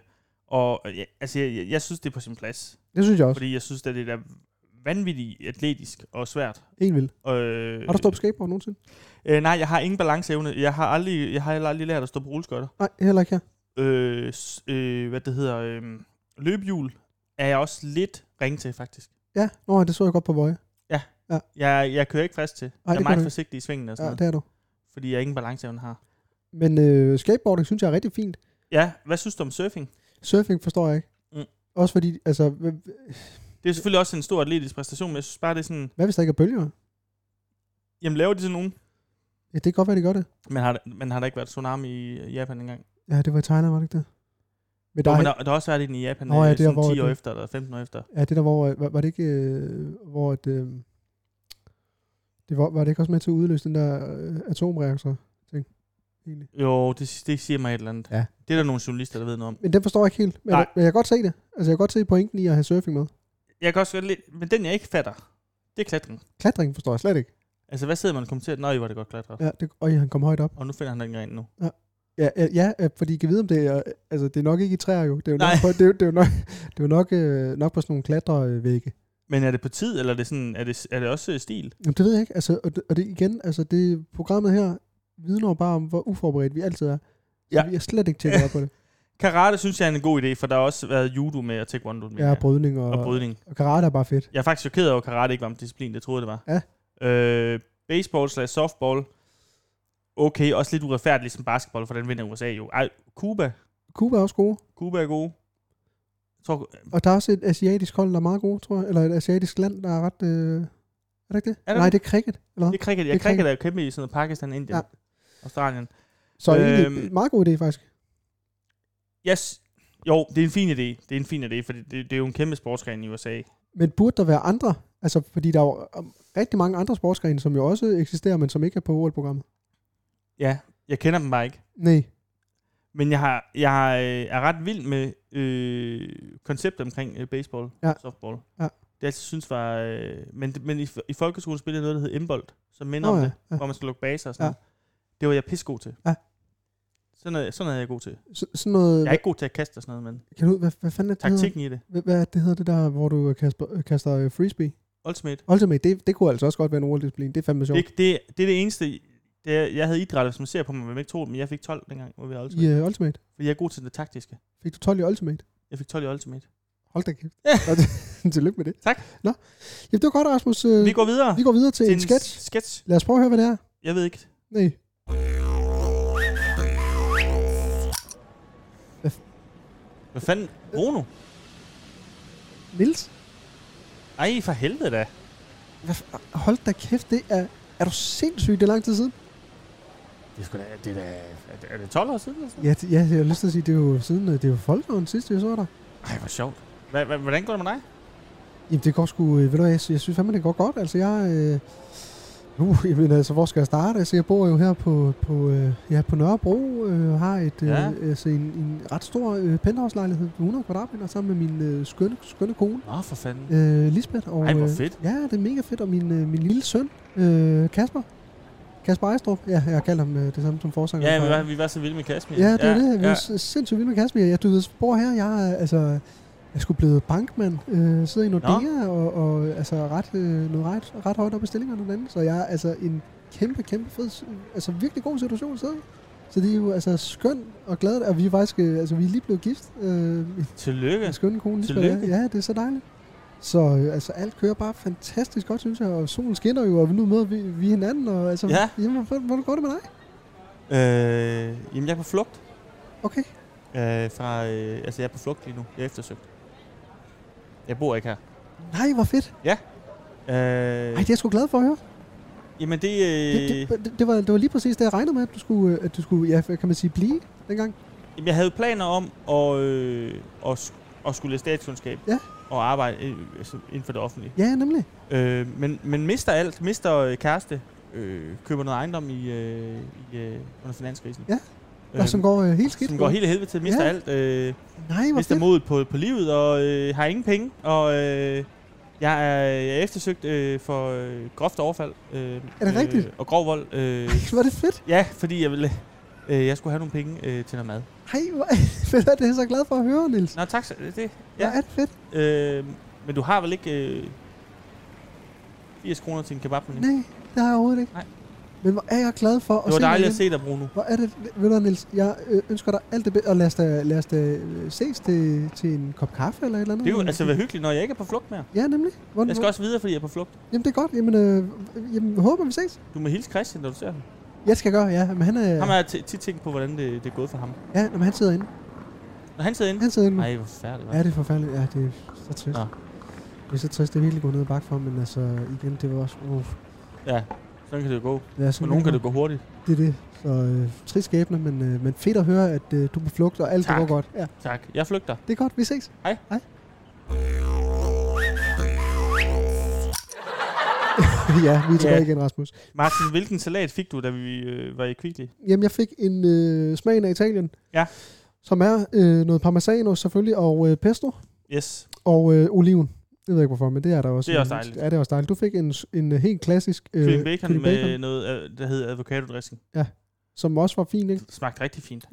Speaker 1: og ja, altså, jeg, jeg, jeg synes, det er på sin plads.
Speaker 2: Det synes jeg også.
Speaker 1: Fordi jeg synes, at det er vanvittigt atletisk og svært.
Speaker 2: Helt vildt.
Speaker 1: Øh,
Speaker 2: Har du stået på skateboard nogensinde?
Speaker 1: øh, nej, jeg har ingen balanceevne. Jeg har aldrig, jeg har heller aldrig lært at stå på rulleskøjter.
Speaker 2: Nej, heller ikke her.
Speaker 1: øh, s- øh, hvad det hedder, øh, løbehjul er jeg også lidt ringe til, faktisk.
Speaker 2: Ja, nå, det så jeg godt på Vøje.
Speaker 1: Jeg, jeg kører ikke fast til. Ej,
Speaker 2: det
Speaker 1: jeg er
Speaker 2: gør du
Speaker 1: meget
Speaker 2: ikke.
Speaker 1: forsigtig i svingen og sådan
Speaker 2: Ja,
Speaker 1: ja, noget,
Speaker 2: det er du.
Speaker 1: fordi jeg ingen balanceevne har.
Speaker 2: Men øh, skateboarding synes jeg er rigtig fint.
Speaker 1: Ja, hvad synes du om surfing?
Speaker 2: Surfing forstår jeg ikke. Mm.
Speaker 1: Mm.
Speaker 2: Også fordi, altså, hvad,
Speaker 1: Det er selvfølgelig også en stor atletisk præstation, men jeg synes bare, det er sådan,
Speaker 2: hvad hvis der ikke er bølger?
Speaker 1: jamen laver de sådan nogen?
Speaker 2: Ja, det kan godt være, de gør det.
Speaker 1: Men har, der- men har der ikke været tsunami i Japan engang?
Speaker 2: Ja, det var i Thailand, var det ikke det? Men der,
Speaker 1: Der,
Speaker 2: er,
Speaker 1: men der, der har også været en i Japan
Speaker 2: Nå,
Speaker 1: oh,
Speaker 2: ja,
Speaker 1: ja,
Speaker 2: det er,
Speaker 1: sådan
Speaker 2: hvor
Speaker 1: 10 år
Speaker 2: det-
Speaker 1: efter, eller 15 år efter.
Speaker 2: ja, det der, hvor, øh, var, var det ikke, øh, hvor et, øh, Det var, var det ikke også med til at udløse den der øh, atomreaktor? Ting, egentlig.
Speaker 1: Jo, det, det siger mig et eller andet.
Speaker 2: Ja.
Speaker 1: Det er der nogle journalister, der ved noget om.
Speaker 2: Men den forstår jeg ikke helt. Men,
Speaker 1: Nej.
Speaker 2: jeg, men jeg kan godt se det. Altså, jeg kan godt se pointen i at have surfing med.
Speaker 1: Jeg kan også godt lide, men den jeg ikke fatter, det er klatring.
Speaker 2: Klatring forstår jeg slet ikke.
Speaker 1: Altså, hvad sidder man og kommenterer? Nej, var det godt klatret. Ja.
Speaker 2: Ja, det, og han kom højt op.
Speaker 1: Og nu finder han den gren nu.
Speaker 2: Ja, ja, ja øh, fordi jeg kan vide, om det er, altså, det er nok ikke i træer jo. Det er jo
Speaker 1: Nej.
Speaker 2: nok, på, det er, jo- det er jo nok, det er jo nok, øh, nok på sådan nogle klatrevægge.
Speaker 1: Men er det på tid, eller er det, sådan, er det, er det også øh, stil?
Speaker 2: Jamen, det ved jeg ikke. Altså, og, det, og det igen, altså det programmet her vidner jo bare om, hvor uforberedt vi altid er. Så
Speaker 1: Ja.
Speaker 2: ja. vi har slet ikke tjekket op
Speaker 1: (laughs)
Speaker 2: på det.
Speaker 1: Karate synes jeg er en god idé, for der har også været judo med og taekwondo med.
Speaker 2: Ja, brydning og,
Speaker 1: og brydning.
Speaker 2: og karate er bare fedt.
Speaker 1: Jeg er faktisk chokeret over, at karate ikke var en disciplin. Det troede jeg, det var. Ja. Øh, baseball slash softball. Okay, også lidt uretfærdigt, som basketball, for den vinder USA jo. Ej, Cuba.
Speaker 2: Cuba er også gode.
Speaker 1: Cuba er gode. Jeg tror,
Speaker 2: Og der er også et asiatisk hold, der er meget gode, tror jeg. Eller et asiatisk land, der er ret... Øh... Er det ikke det?
Speaker 1: Er
Speaker 2: Er
Speaker 1: der
Speaker 2: Nej,
Speaker 1: det?
Speaker 2: det er cricket. Eller?
Speaker 1: det
Speaker 2: Det...
Speaker 1: er cricket. Jeg
Speaker 2: Det er
Speaker 1: cricket er jo kæmpe i sådan noget Pakistan, Indien, ja.
Speaker 2: Ja.
Speaker 1: Australien.
Speaker 2: Så øhm... egentlig,
Speaker 1: Øhm.
Speaker 2: meget god idé, faktisk.
Speaker 1: Yes. Jo, det er en fin idé. Det er en fin idé, for det, det, er jo en kæmpe sportsgren i USA.
Speaker 2: Men burde der være andre? Altså, fordi der er jo øh, rigtig mange andre sportsgrene, som jo også eksisterer, men som ikke er på OL-programmet.
Speaker 1: Ja, jeg kender dem bare ikke.
Speaker 2: Nej.
Speaker 1: Men jeg, har, jeg øh, er ret vild med øh, konceptet omkring øh, baseball, ja.
Speaker 2: Ja.
Speaker 1: softball.
Speaker 2: Ja.
Speaker 1: Det jeg altid synes var... Øh, men men i, i folkeskolen spillede jeg noget, der hed indbold, som minder
Speaker 2: Nå
Speaker 1: om
Speaker 2: ja,
Speaker 1: det,
Speaker 2: ja.
Speaker 1: hvor man skal lukke baser og sådan
Speaker 2: Ja.
Speaker 1: ja. noget. Det var jeg pissegod til.
Speaker 2: Ja.
Speaker 1: Sådan noget, sådan noget er jeg god til.
Speaker 2: Så, sådan noget...
Speaker 1: Jeg er ikke god til at kaste og sådan noget, men
Speaker 2: Kan du, hvad, hvad fanden er det, det hedder?
Speaker 1: taktikken i det.
Speaker 2: Hvad, hvad er det hedder det der, hvor du øh, kaster, øh, kaster øh, frisbee?
Speaker 1: Ultimate.
Speaker 2: Ultimate, det, det kunne altså også godt være en OL-disciplin. Det er fandme sjovt.
Speaker 1: Det, det, det er det eneste... Det er, jeg havde idræt, hvis man ser på mig, men ikke to, men jeg fik 12 dengang, hvor vi havde Ultimate.
Speaker 2: I uh, Ultimate.
Speaker 1: Fordi jeg er god til det taktiske.
Speaker 2: Fik du 12 i Ultimate?
Speaker 1: Jeg fik 12 i Ultimate.
Speaker 2: Hold da kæft.
Speaker 1: Ja.
Speaker 2: Ja. Tillykke med det. (laughs)
Speaker 1: Tak.
Speaker 2: Nå. Jamen, det var godt, Rasmus. Øh,
Speaker 1: Vi går videre
Speaker 2: vi går videre til, til en sketch.
Speaker 1: sketch.
Speaker 2: Lad os prøve at høre, hvad det er.
Speaker 1: Jeg ved ikke.
Speaker 2: Nej.
Speaker 1: Hvad fanden? Bruno?
Speaker 2: Nils?
Speaker 1: Ej, for helvede da.
Speaker 2: Hvad, f- hold da kæft, det er... Er du sindssyg? Det er lang tid siden.
Speaker 1: Det er, sgu da, det er, da, er det- er det 12 år siden? Eller sådan?
Speaker 2: Ja, det, ja, jeg har lyst til at sige, det er jo siden... øh, Det er jo folkevogn sidst, jeg så dig.
Speaker 1: Ej, hvor sjovt. Hva, hva, hvordan går det med dig?
Speaker 2: Jamen, det går sgu... øh, Ved du hvad, jeg, sy- jeg synes fandme, det går godt. Altså, jeg... Øh, uh, (laughs) jamen, altså, hvor skal jeg starte? Altså, jeg bor jo her på, på, øh, ja, på Nørrebro, øh, har et, øh,
Speaker 1: Ja.
Speaker 2: ja. altså, en, en ret stor øh, penthouse-lejlighed på 100 kvadratmeter sammen med min øh, skønne, skønne kone,
Speaker 1: Nå, for fanden.
Speaker 2: øh, Lisbeth. Og,
Speaker 1: Ej, hvor
Speaker 2: øh,
Speaker 1: fedt.
Speaker 2: Ja, det er mega fedt. Og min, øh, min lille søn, øh, Kasper. Kasper Ejstrup. Ja, jeg kalder ham øh, det samme som forsanger.
Speaker 1: Ja,
Speaker 2: for-
Speaker 1: vi var, vi var så vilde med Kasmir.
Speaker 2: Ja, det er ja, det. Jeg
Speaker 1: Ja.
Speaker 2: er ja. sindssygt vild med Kasper. Jeg du ved, bor her. Jeg er altså... Jeg skulle blevet bankmand, øh, sidder i Nordea, og, og altså ret, øh, noget ret, ret højt op i stillingerne derinde. Så jeg er altså en kæmpe, kæmpe fed, s- altså virkelig god situation at sidde i. Så det er jo altså skønt og glad, og vi er faktisk, øh, altså vi er lige blevet gift, øh, min
Speaker 1: Tillykke.
Speaker 2: skønne kone. Lisbeth,
Speaker 1: Tillykke.
Speaker 2: Ja, Ja, det er så dejligt. Så øh, altså alt kører bare fantastisk godt, synes jeg, og solen skinner jo, og nu møder vi, vi hinanden, og altså,
Speaker 1: Ja.
Speaker 2: jamen, hvor, hvor går det med dig?
Speaker 1: Øh, jamen, jeg er på flugt.
Speaker 2: Okay,
Speaker 1: Øh, fra, øh, altså, jeg er på flugt lige nu. Jeg er eftersøgt. Jeg bor ikke her.
Speaker 2: nej, hvor fedt.
Speaker 1: Øh,
Speaker 2: Ej, det er jeg sgu glad for at høre.
Speaker 1: jamen, det... Øh,
Speaker 2: det, det, det, var, det var lige præcis det, jeg regnede med, at du skulle, øh, at du skulle ja, kan man sige, blive dengang.
Speaker 1: Jamen, Jeg havde planer om at, øh, at, sk- at skulle læse statskundskab
Speaker 2: Ja.
Speaker 1: og arbejde øh, altså inden for det offentlige.
Speaker 2: Ja, nemlig.
Speaker 1: Øh, men, men mister alt, mister øh, kæreste, øh, køber noget ejendom i, øh, i øh, under finanskrisen.
Speaker 2: Ja. Og som går øh, helt skidt.
Speaker 1: Øhm, som går helt af helvede til, mister ja.
Speaker 2: Ja.
Speaker 1: alt, øh,
Speaker 2: Nej, hvor
Speaker 1: mister
Speaker 2: fedt.
Speaker 1: modet på, på livet og øh, har ingen penge. Og øh, jeg, er, jeg er eftersøgt øh, for øh, groft overfald. Øh,
Speaker 2: Er det rigtigt?
Speaker 1: Og grov vold.
Speaker 2: (laughs)
Speaker 1: Øh,
Speaker 2: Ej, (laughs) hvor er det fedt.
Speaker 1: ja, fordi jeg ville... Øh, jeg skulle have nogle penge øh, til noget mad.
Speaker 2: Ej, hvor fedt. Det er jeg så glad for at høre, Nils.
Speaker 1: Nå, tak. så- Det,
Speaker 2: Ja. er det fedt.
Speaker 1: Øh, men du har vel ikke øh, 80 kroner til en kebab nu? Det
Speaker 2: Nej, det har jeg overhovedet ikke.
Speaker 1: Nej.
Speaker 2: Men hvor er jeg glad for at
Speaker 1: var
Speaker 2: se dig
Speaker 1: dejligt at
Speaker 2: igen.
Speaker 1: se dig, Bruno.
Speaker 2: Hvor er det, ved du, Niels, jeg øh, ønsker dig alt det bedste, og lad os da, lad os da øh, ses til, til en kop kaffe eller et eller andet.
Speaker 1: Det er jo altså være hyggeligt, når jeg ikke er på flugt mere.
Speaker 2: Ja, nemlig. Hvor,
Speaker 1: Jeg skal også videre, fordi jeg er på flugt.
Speaker 2: Jamen, det er godt. Jamen, øh, jamen, håber vi ses.
Speaker 1: Du må hilse Christian, når du ser ham.
Speaker 2: Jeg skal gøre, ja. Men han,
Speaker 1: Ja.
Speaker 2: er,
Speaker 1: Ham har jeg t- tit tænkt på, hvordan det, det er gået for ham.
Speaker 2: ja, jamen, han sidder inde.
Speaker 1: Når han sidder inde...
Speaker 2: Han sidder inde nu.
Speaker 1: Nej, hvor færdigt.
Speaker 2: Ja, det er forfærdeligt. Ja, det er så trist.
Speaker 1: Nå.
Speaker 2: Ja. Det er så trist, det er virkelig gået ned ad bakke for, men altså igen, det var også... Uh,
Speaker 1: ja, sådan kan det jo gå.
Speaker 2: ja,
Speaker 1: For nogen kan det gå hurtigt.
Speaker 2: Det er det. Så øh, trist skæbne, men, øh, men fedt at høre, at øh, du er på flugt, og alt
Speaker 1: Tak.
Speaker 2: det går godt. Ja,
Speaker 1: Tak. Jeg flygter.
Speaker 2: det er godt. Vi ses.
Speaker 1: Hej.
Speaker 2: Hej. (laughs) ja, vi er tilbage
Speaker 1: Ja.
Speaker 2: igen, Rasmus.
Speaker 1: Martin, hvilken salat fik du, da vi øh, var i Kvickly?
Speaker 2: Jamen, jeg fik en øh, smagen af Italien.
Speaker 1: Ja.
Speaker 2: Som er øh, noget parmesano selvfølgelig, og øh, pesto,
Speaker 1: Yes.
Speaker 2: og øh, oliven. Jeg ved ikke hvorfor, men det er der også.
Speaker 1: Det er også dejligt.
Speaker 2: Ja, det er også dejligt. Du fik en, en øh, helt klassisk øh,
Speaker 1: Kylling bacon, bacon med noget, øh, der hedder avocado dressing.
Speaker 2: som også var fin, ikke?
Speaker 1: Det smagte rigtig fint.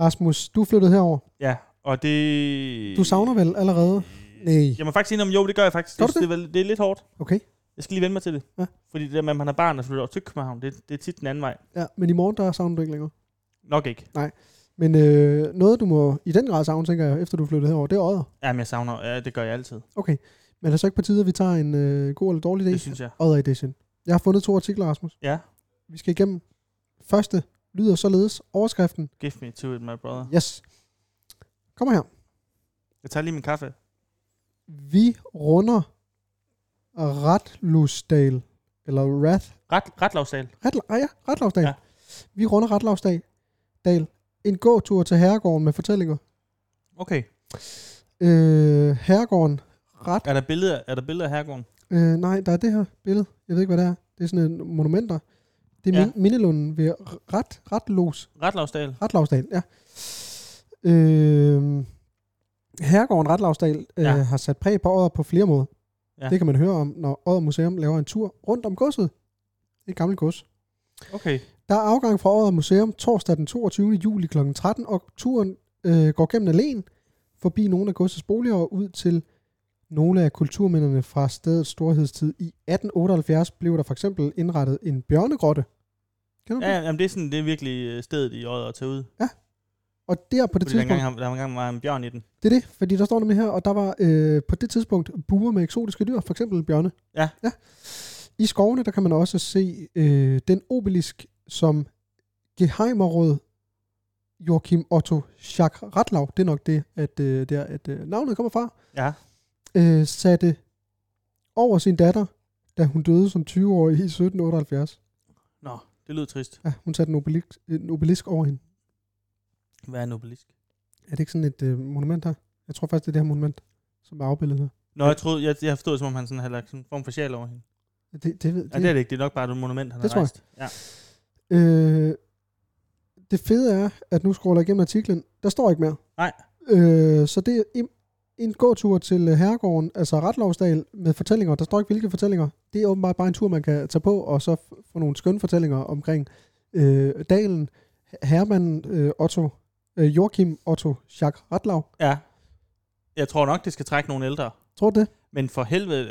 Speaker 2: Rasmus, du flyttede herover.
Speaker 1: Ja, og det...
Speaker 2: Du savner vel allerede?
Speaker 1: øh,
Speaker 2: Nej.
Speaker 1: Jeg må faktisk sige noget om, jo, det gør jeg faktisk.
Speaker 2: Gør
Speaker 1: Det,
Speaker 2: du
Speaker 1: det? er vel- det er lidt hårdt.
Speaker 2: Okay.
Speaker 1: Jeg skal lige vende mig til det.
Speaker 2: Ja.
Speaker 1: Fordi det der med, at man har barn og flytter over til København, det, det er tit den anden vej.
Speaker 2: Ja, men i morgen, der savner du ikke længere.
Speaker 1: Nok ikke.
Speaker 2: Men øh, noget, du må i den grad savne, tænker jeg, efter du flyttede herover, det er øjet.
Speaker 1: Jamen, jeg savner. Ja, det gør jeg altid.
Speaker 2: Okay. Men er det så ikke på tide, at vi tager en øh, god eller dårlig
Speaker 1: Det
Speaker 2: idé?
Speaker 1: synes jeg.
Speaker 2: Odder Edition. Jeg har fundet to artikler, Rasmus.
Speaker 1: Ja.
Speaker 2: Vi skal igennem. Første lyder således overskriften.
Speaker 1: Give me to it, my brother.
Speaker 2: Yes. Kommer her.
Speaker 1: Jeg tager lige min kaffe.
Speaker 2: Vi runder Ratlusdal. Eller Rath.
Speaker 1: Ret, ret lavsal.
Speaker 2: Ret, ah ja, Ratlavsdal. Ja.
Speaker 1: Ja.
Speaker 2: Vi runder Ratlavsdal. Dal. En gåtur til herregården med fortællinger.
Speaker 1: Okay.
Speaker 2: Øh, herregården. Ret.
Speaker 1: Er der billeder, er der billeder af herregården?
Speaker 2: Øh, nej, der er det her billede. Jeg ved ikke, hvad det er. Det er sådan en monumenter. Det er ja.
Speaker 1: Ja.
Speaker 2: mindelunden ved Ret, Ratlos.
Speaker 1: Ret lavsdal.
Speaker 2: Retlavsdal, ja. Øh, Herregården Retlavsdal øh, ja.
Speaker 1: Ja.
Speaker 2: har sat præg på året på flere måder. Ja.
Speaker 1: Ja.
Speaker 2: Det kan man høre om, når Odder Museum laver en tur rundt om godset. Det gamle gods.
Speaker 1: Okay.
Speaker 2: Der er afgang fra Odder Museum torsdag den 22. juli kl. 13, og turen øh, går gennem alene forbi nogle af godsets boliger og ud til nogle af kulturminderne fra stedets storhedstid. I 1878 blev der for eksempel indrettet en bjørnegrotte. Kender du
Speaker 1: Ja,
Speaker 2: ja.
Speaker 1: jamen, det er sådan, det er virkelig øh, stedet i øjet at tage ud.
Speaker 2: Og der på det
Speaker 1: Fordi
Speaker 2: tidspunkt...
Speaker 1: der engang, har- der var engang var en bjørn i den.
Speaker 2: Det er det, fordi der står nemlig her, og der var øh, på det tidspunkt buer med eksotiske dyr, for eksempel bjørne.
Speaker 1: Ja.
Speaker 2: ja. I skovene, der kan man også se øh, den obelisk, som gehejmerråd Joachim Otto Schack Ratlau, det er nok det, at, øh, der, at øh, navnet kommer fra,
Speaker 1: Ja.
Speaker 2: øh, satte over sin datter, da hun døde som 20-årig i 1778.
Speaker 1: Nå, det lyder trist.
Speaker 2: Ja, hun satte en obelisk, en obelisk over hende.
Speaker 1: Hvad er en obelisk?
Speaker 2: Er det ikke sådan et øh, monument her? Jeg tror faktisk, det er det her monument, som er afbildet her.
Speaker 1: Nå, jeg troede, jeg, jeg har forstået, som om han sådan har lagt sådan en form for sjæl over hende.
Speaker 2: Det, det, ved,
Speaker 1: Ja, det er det ikke. Det er nok bare et monument, han
Speaker 2: Det
Speaker 1: har
Speaker 2: tror jeg.
Speaker 1: rejst. Ja.
Speaker 2: Øh, det fede er, at nu scroller jeg igennem artiklen. Der står ikke mere.
Speaker 1: Nej.
Speaker 2: Øh, så det er en, en gåtur til øh, herregården, altså Retlovsdal, med fortællinger. Der står ikke, hvilke fortællinger. Det er åbenbart bare en tur, man kan tage på, og så f- få nogle skønne fortællinger omkring øh, dalen, herremanden øh, Otto, øh, Joachim Otto Jacques Retlav.
Speaker 1: Ja. Jeg tror nok, det skal trække nogle ældre.
Speaker 2: Tror du det?
Speaker 1: Men for helvede,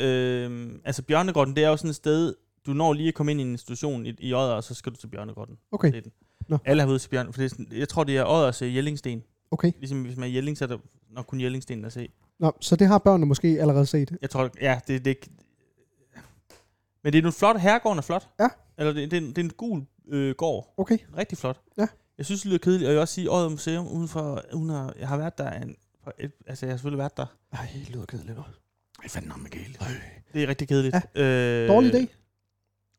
Speaker 1: øh, altså Bjørnegården, det er jo sådan et sted, du når lige at komme ind i en institution i, i Odder, og så skal du til Bjørnegården.
Speaker 2: Okay.
Speaker 1: Det er den.
Speaker 2: Nå.
Speaker 1: Alle har været ude til Bjørn, for det er sådan, jeg tror, det er Odders øh, Jellingsten.
Speaker 2: Okay.
Speaker 1: Ligesom hvis man er Jelling, så er der nok kun Jellingsten at se.
Speaker 2: Nå, så det har børnene måske allerede set.
Speaker 1: Jeg tror, ja, det, det Men det er nu flot, herregården er flot.
Speaker 2: Ja.
Speaker 1: Eller det, det, er en, det er en gul øh, gård.
Speaker 2: Okay.
Speaker 1: Rigtig flot.
Speaker 2: Ja.
Speaker 1: Jeg synes, det lyder kedeligt, og jeg vil også sige, Odder Museum uden for, uden at, jeg har været der en, på et, altså jeg har selvfølgelig været der.
Speaker 2: Ej, det lyder kedeligt.
Speaker 1: Ej, fanden om kedeligt. Det er rigtig kedeligt. Ja. Øh,
Speaker 2: Dårlig idé.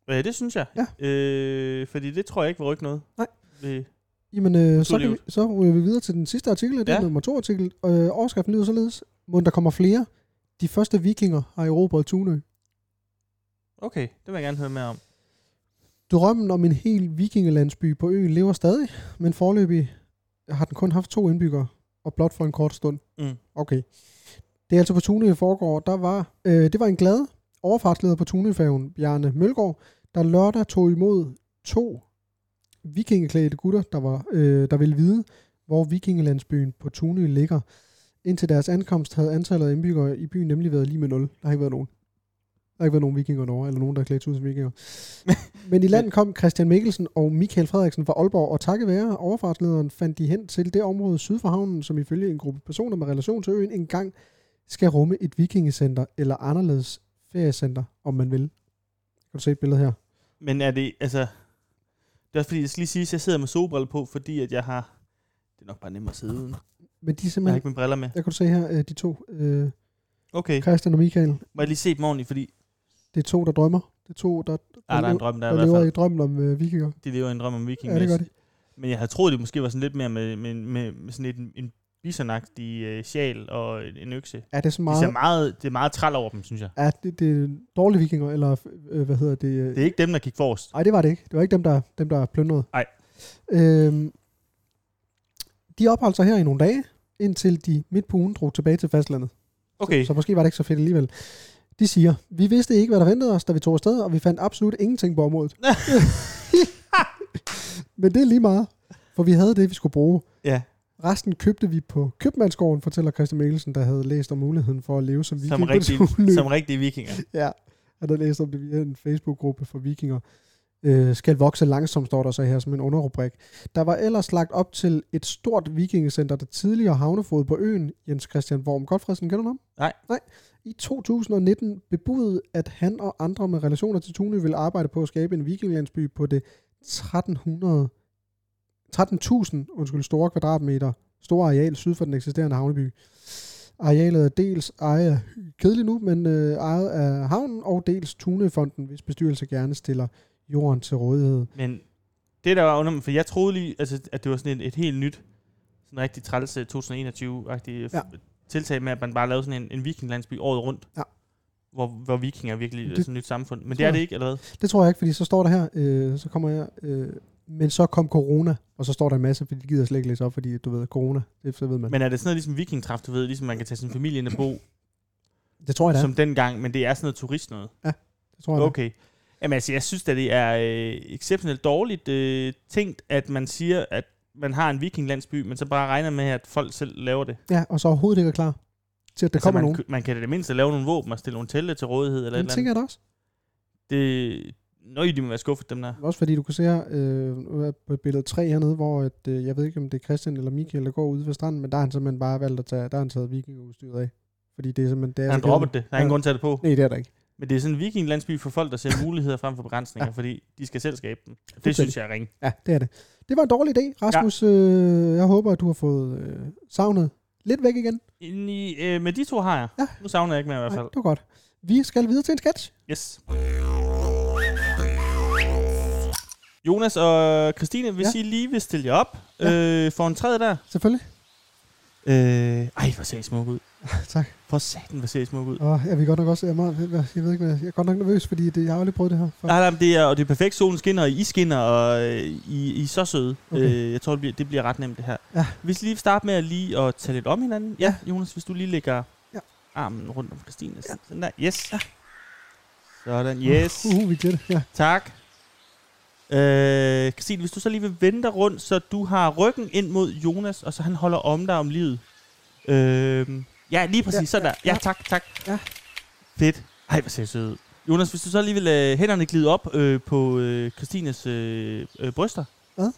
Speaker 1: Ja, det synes jeg.
Speaker 2: Ja.
Speaker 1: Øh, fordi det tror jeg ikke vil rykke noget.
Speaker 2: Nej.
Speaker 1: Ved,
Speaker 2: Jamen, øh, så, kan vi,
Speaker 1: Turlivet.
Speaker 2: så ryger vi videre til den sidste artikel, det er
Speaker 1: Ja.
Speaker 2: nummer to artikel. Øh, overskriften lyder således. Må der kommer flere? De første vikinger har erobret Tunø.
Speaker 1: okay, det vil jeg gerne høre mere om.
Speaker 2: Drømmen om en hel vikingelandsby på øen lever stadig, men forløbig har den kun haft to indbyggere, og blot for en kort stund.
Speaker 1: Mm.
Speaker 2: Okay. Det er altså på Tunø, det foregår. Der var, øh, det var en glad overfartsleder på Tunøfærgen, Bjarne Mølgaard, der lørdag tog imod to vikingeklædte gutter, der, var, øh, der ville vide, hvor vikingelandsbyen på Tunø ligger. Indtil deres ankomst havde antallet af indbyggere i byen nemlig været lige med 0. Der har ikke været nogen. Der har ikke været nogen vikinger over, eller nogen, der er klædt ud som vikinger. Men i land kom Christian Mikkelsen og Michael Frederiksen fra Aalborg, og takket være overfartslederen fandt de hen til det område syd for havnen, som ifølge en gruppe personer med relation til øen engang skal rumme et vikingecenter, eller anderledes feriecenter, om man vil. Kan du se et billede her?
Speaker 1: Men er det, altså... Det er også fordi, jeg skal lige sige, at jeg sidder med solbriller på, fordi at jeg har... Det er nok bare nemmere at sidde uden.
Speaker 2: Men de er
Speaker 1: Jeg har
Speaker 2: simpelthen...
Speaker 1: ikke mine briller med.
Speaker 2: Der kan du se her, øh, de to, øh,
Speaker 1: Okay,
Speaker 2: Christian og Michael,
Speaker 1: må jeg lige se dem ordentligt, fordi...
Speaker 2: det er to, der drømmer. Det er to, der, der,
Speaker 1: Ah, der er en
Speaker 2: lever,
Speaker 1: drøm, der, er i
Speaker 2: der
Speaker 1: hvert
Speaker 2: lever
Speaker 1: fald.
Speaker 2: i drømmen om øh, vikinger.
Speaker 1: De lever i en drøm om viking.
Speaker 2: Ja, det gør de.
Speaker 1: Men jeg havde troet, det måske var sådan lidt mere med, med, med, med sådan et, en bisonagtig øh, sjæl og en en økse.
Speaker 2: Er det så
Speaker 1: Det, ser
Speaker 2: meget...
Speaker 1: meget, det er meget træl over dem, synes jeg.
Speaker 2: Er det, det er dårlige vikinger, eller øh, hvad hedder det?
Speaker 1: Det er ikke dem, der gik forrest.
Speaker 2: Nej, det var det ikke. Det var ikke dem, der, dem, der plyndrede.
Speaker 1: Nej.
Speaker 2: Øhm, de opholdt sig her i nogle dage, indtil de midt på ugen drog tilbage til fastlandet.
Speaker 1: Okay,
Speaker 2: Så måske var det ikke så fedt alligevel. De siger, vi vidste ikke, hvad der ventede os, da vi tog afsted, og vi fandt absolut ingenting på
Speaker 1: (laughs)
Speaker 2: området. (laughs) Men det er lige meget, for vi havde det, vi skulle bruge.
Speaker 1: ja.
Speaker 2: Resten købte vi på købmandsgården, fortæller Christian Mikkelsen, der havde læst om muligheden for at leve som viking.
Speaker 1: Som
Speaker 2: på (laughs)
Speaker 1: rigtige,
Speaker 2: Thule.
Speaker 1: som rigtige vikinger.
Speaker 2: Ja, han har læst om det via en Facebook-gruppe for vikinger. Øh, skal vokse langsomt, står der så her som en underrubrik. Der var ellers lagt op til et stort vikingecenter, der tidligere havnefod på øen, Jens Christian Worm Godfredsen, kender du ham?
Speaker 1: Nej.
Speaker 2: Nej. I 2019 bebudede, at han og andre med relationer til Tunø ville arbejde på at skabe en vikinglandsby på det 1300 13.000 undskyld, store kvadratmeter store areal syd for den eksisterende havneby. Arealet er dels ejet af kedeligt nu, men øh, ejet af havnen og dels Tunefonden, hvis bestyrelse gerne stiller jorden til rådighed.
Speaker 1: Men det der var under mig, for jeg troede lige, altså, at det var sådan et, et helt nyt, sådan rigtig træls øh, 2021-agtigt
Speaker 2: Ja.
Speaker 1: ja. øh, tiltag med, at man bare lavede sådan en, en vikinglandsby året rundt.
Speaker 2: Ja.
Speaker 1: Hvor, hvor vikinger virkelig er
Speaker 2: Det-
Speaker 1: sådan et nyt samfund. Men
Speaker 2: tror
Speaker 1: det er
Speaker 2: jeg.
Speaker 1: det ikke, eller hvad?
Speaker 2: Det tror jeg ikke, fordi så står der her, øh, så kommer jeg, øh, men så kom corona, og så står der en masse, fordi de gider slet ikke læse op, fordi du ved, corona, det så ved man. Men,
Speaker 1: Men er det sådan noget ligesom vikingtræf, du ved, ligesom man kan tage sin familie ind og bo,
Speaker 2: det tror jeg da,
Speaker 1: som dengang, men det er sådan noget turist noget?
Speaker 2: det tror jeg da.
Speaker 1: Okay. Jamen altså, jeg synes at det er øh, exceptionelt dårligt øh, tænkt, at man siger, at man har en vikinglandsby, men så bare regner med, at folk selv laver det.
Speaker 2: Ja, og så overhovedet ikke er klar til, at der altså, kommer
Speaker 1: man,
Speaker 2: nogen.
Speaker 1: kan- man kan i det mindste lave nogle våben og stille nogle telte til rådighed eller
Speaker 2: Men
Speaker 1: et eller andet.
Speaker 2: tænker jeg da også.
Speaker 1: Det... Nøj, de må være skuffet, dem der.
Speaker 2: Også fordi du kan se her øh, nu er jeg på billede 3 hernede, hvor at, øh, jeg ved ikke, om det er Christian eller Michael, der går ude ved stranden, men der har han simpelthen bare valgt at tage, der har han taget vikingeudstyret af. Fordi det er simpelthen... Det er
Speaker 1: Han
Speaker 2: så
Speaker 1: droppet
Speaker 2: kedeligt.
Speaker 1: det. Der er ingen
Speaker 2: Ja.
Speaker 1: grund til at det på.
Speaker 2: Nej, det er der ikke.
Speaker 1: Men det er sådan en vikinglandsby for folk, der ser muligheder frem for begrænsninger, fordi de skal selv skabe dem. Det synes
Speaker 2: Fuldstændig.
Speaker 1: jeg er ringe.
Speaker 2: Ja, det er det. Det var en dårlig idé, Rasmus. Ja. Øh, jeg håber, at du har fået øh, savnet lidt væk igen.
Speaker 1: Inden I, øh, med de to har jeg.
Speaker 2: Ja.
Speaker 1: Nu savner jeg ikke mere i hvert
Speaker 2: Nej,
Speaker 1: fald.
Speaker 2: det var godt. Vi skal videre til en sketch.
Speaker 1: Yes. Jonas og Christine, hvis
Speaker 2: Ja.
Speaker 1: ja. I lige vil stille jer op
Speaker 2: Ja.
Speaker 1: øh, for en træde der. (laughs)
Speaker 2: Selvfølgelig.
Speaker 1: Øh, ej, hvor ser I smuk ud.
Speaker 2: tak.
Speaker 1: For satan, hvor ser I smuk ud.
Speaker 2: Og jeg vil godt nok også... Jeg, er meget, jeg ved ikke, hvad- jeg er godt nok nervøs, fordi det, jeg har aldrig prøvet det her. Før.
Speaker 1: Nej, nej, men det er, og det er perfekt. Solen skinner, og I skinner, og øh, I, I er så søde.
Speaker 2: Okay.
Speaker 1: Okay. Øh, jeg tror, det bliver, det bliver ret nemt, det her.
Speaker 2: Ja.
Speaker 1: Hvis I lige vil starte med at lige at tale lidt om hinanden. Ja, Jonas, hvis du lige lægger
Speaker 2: Ja.
Speaker 1: ja. armen rundt om Christine. Ja. Sådan der. Yes. Ja. Sådan, yes.
Speaker 2: (laughs) Uh, uh, vi det.
Speaker 1: (laughs)
Speaker 2: Ja.
Speaker 1: Tak. Øh, Christine, hvis du så lige vil vende dig rundt, så du har ryggen ind mod Jonas, og så han holder om dig om livet. Øh, ja, lige præcis.
Speaker 2: Ja,
Speaker 1: Ja, sådan
Speaker 2: ja,
Speaker 1: der. Ja,
Speaker 2: ja.
Speaker 1: tak, tak.
Speaker 2: Ja.
Speaker 1: Fedt. Ej, hvor ser jeg sød ud. Jonas, hvis du så lige vil lade hænderne glide op øh, på øh, Christines øh, øh, bryster.
Speaker 2: Hvad?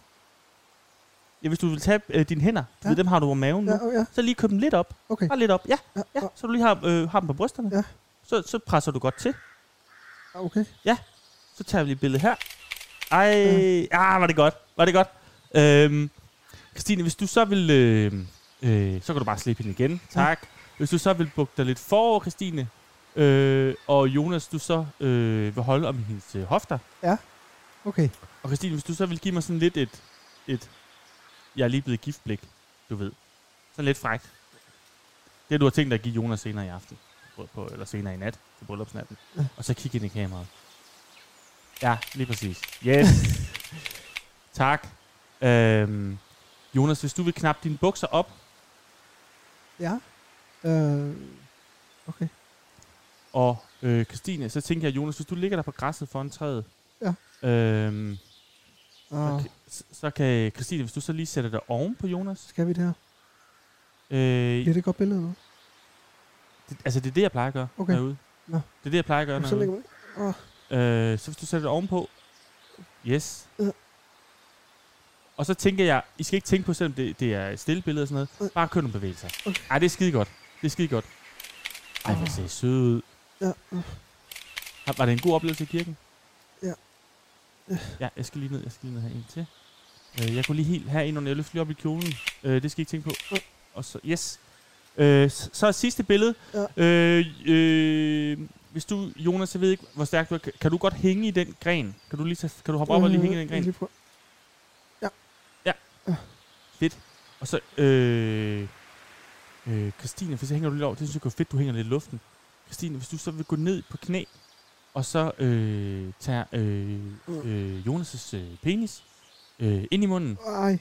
Speaker 1: Ja, hvis du vil tage øh, dine hænder, du
Speaker 2: Ja.
Speaker 1: ja. ved, dem har du på maven nu.
Speaker 2: Ja, ja,
Speaker 1: Så lige køb dem lidt op.
Speaker 2: okay.
Speaker 1: Bare lidt op. Ja,
Speaker 2: Ja,
Speaker 1: Ah, ja. Så du lige har, øh, har dem på brysterne.
Speaker 2: Ja.
Speaker 1: Så, så presser du godt til.
Speaker 2: ja, ah, okay.
Speaker 1: Så tager vi lige et billede her. Ej, ja. ah, var det godt. Var det godt. Øhm, Christine, hvis du så vil... Øh, øh, så kan du bare slippe hende igen. Tak. Hvis du så vil bukke dig lidt forover, Christine, øh, og Jonas, du så øh, vil holde om hendes øh, hofter.
Speaker 2: Okay.
Speaker 1: Og Christine, hvis du så vil give mig sådan lidt et... et jeg er lige blevet giftblik, du ved. Sådan lidt frækt. Det, du har tænkt dig at give Jonas senere i aften. På, på, eller senere i nat til bryllupsnatten.
Speaker 2: Ja.
Speaker 1: Ja. Og så kigge ind i kameraet. Ja, lige præcis. Yes. tak. Øhm, Jonas, hvis du vil knappe dine bukser op,
Speaker 2: Ja. Øh, okay.
Speaker 1: og øh, Christine, så tænker jeg, Jonas, hvis du ligger der på græsset foran træet,
Speaker 2: Ja.
Speaker 1: øhm,
Speaker 2: Og
Speaker 1: okay. så, så kan Christine, hvis du så lige sætter dig oven på Jonas,
Speaker 2: skal vi det her?
Speaker 1: øh,
Speaker 2: Bliver det et godt billede nu?
Speaker 1: Det, altså, det er det, jeg plejer at gøre,
Speaker 2: Okay.
Speaker 1: okay. når jeg er ude.
Speaker 2: Nå.
Speaker 1: Det er det, jeg plejer at gøre, når
Speaker 2: Så
Speaker 1: jeg er
Speaker 2: lægger man Åh,
Speaker 1: ude. Øh, så hvis du sætter det ovenpå. Yes.
Speaker 2: Ja.
Speaker 1: Og så tænker jeg, I skal ikke tænke på, selvom det, det er et stille billede og sådan
Speaker 2: Nej.
Speaker 1: noget. Bare kør nogle bevægelser.
Speaker 2: Okay.
Speaker 1: Ej, det er skide godt. Det er skide godt. Ej, hvor ser I søde ud.
Speaker 2: Ja. ah,
Speaker 1: Har- Var det en god oplevelse i kirken?
Speaker 2: Ja. Ja.
Speaker 1: (sighs) Ja, jeg skal lige ned. Jeg skal lige ned her en til. Øh, jeg kunne lige helt herind under. Jeg løfter lige op i kjolen. Øh, det skal I ikke tænke på.
Speaker 2: Nej.
Speaker 1: Og så, yes. Øh, s- så er sidste billede. Ja. Øh, øh, hvis du, Jonas, jeg ved ikke, hvor stærk du er. Kan- Kan du godt hænge i den gren? Kan du, lige tage, kan du hoppe op og lige hænge i den
Speaker 2: Jeg
Speaker 1: gren?
Speaker 2: øh, lige prøver.
Speaker 1: Og så, øh, Øh, Christine, hvis jeg hænger du lidt over, det synes jeg er fedt, du hænger lidt i luften. Christine, hvis du så vil gå ned på knæ, og så øh, tager øh,
Speaker 2: Mm.
Speaker 1: øh, Jonas' øh, penis øh, ind i munden.
Speaker 2: Ej,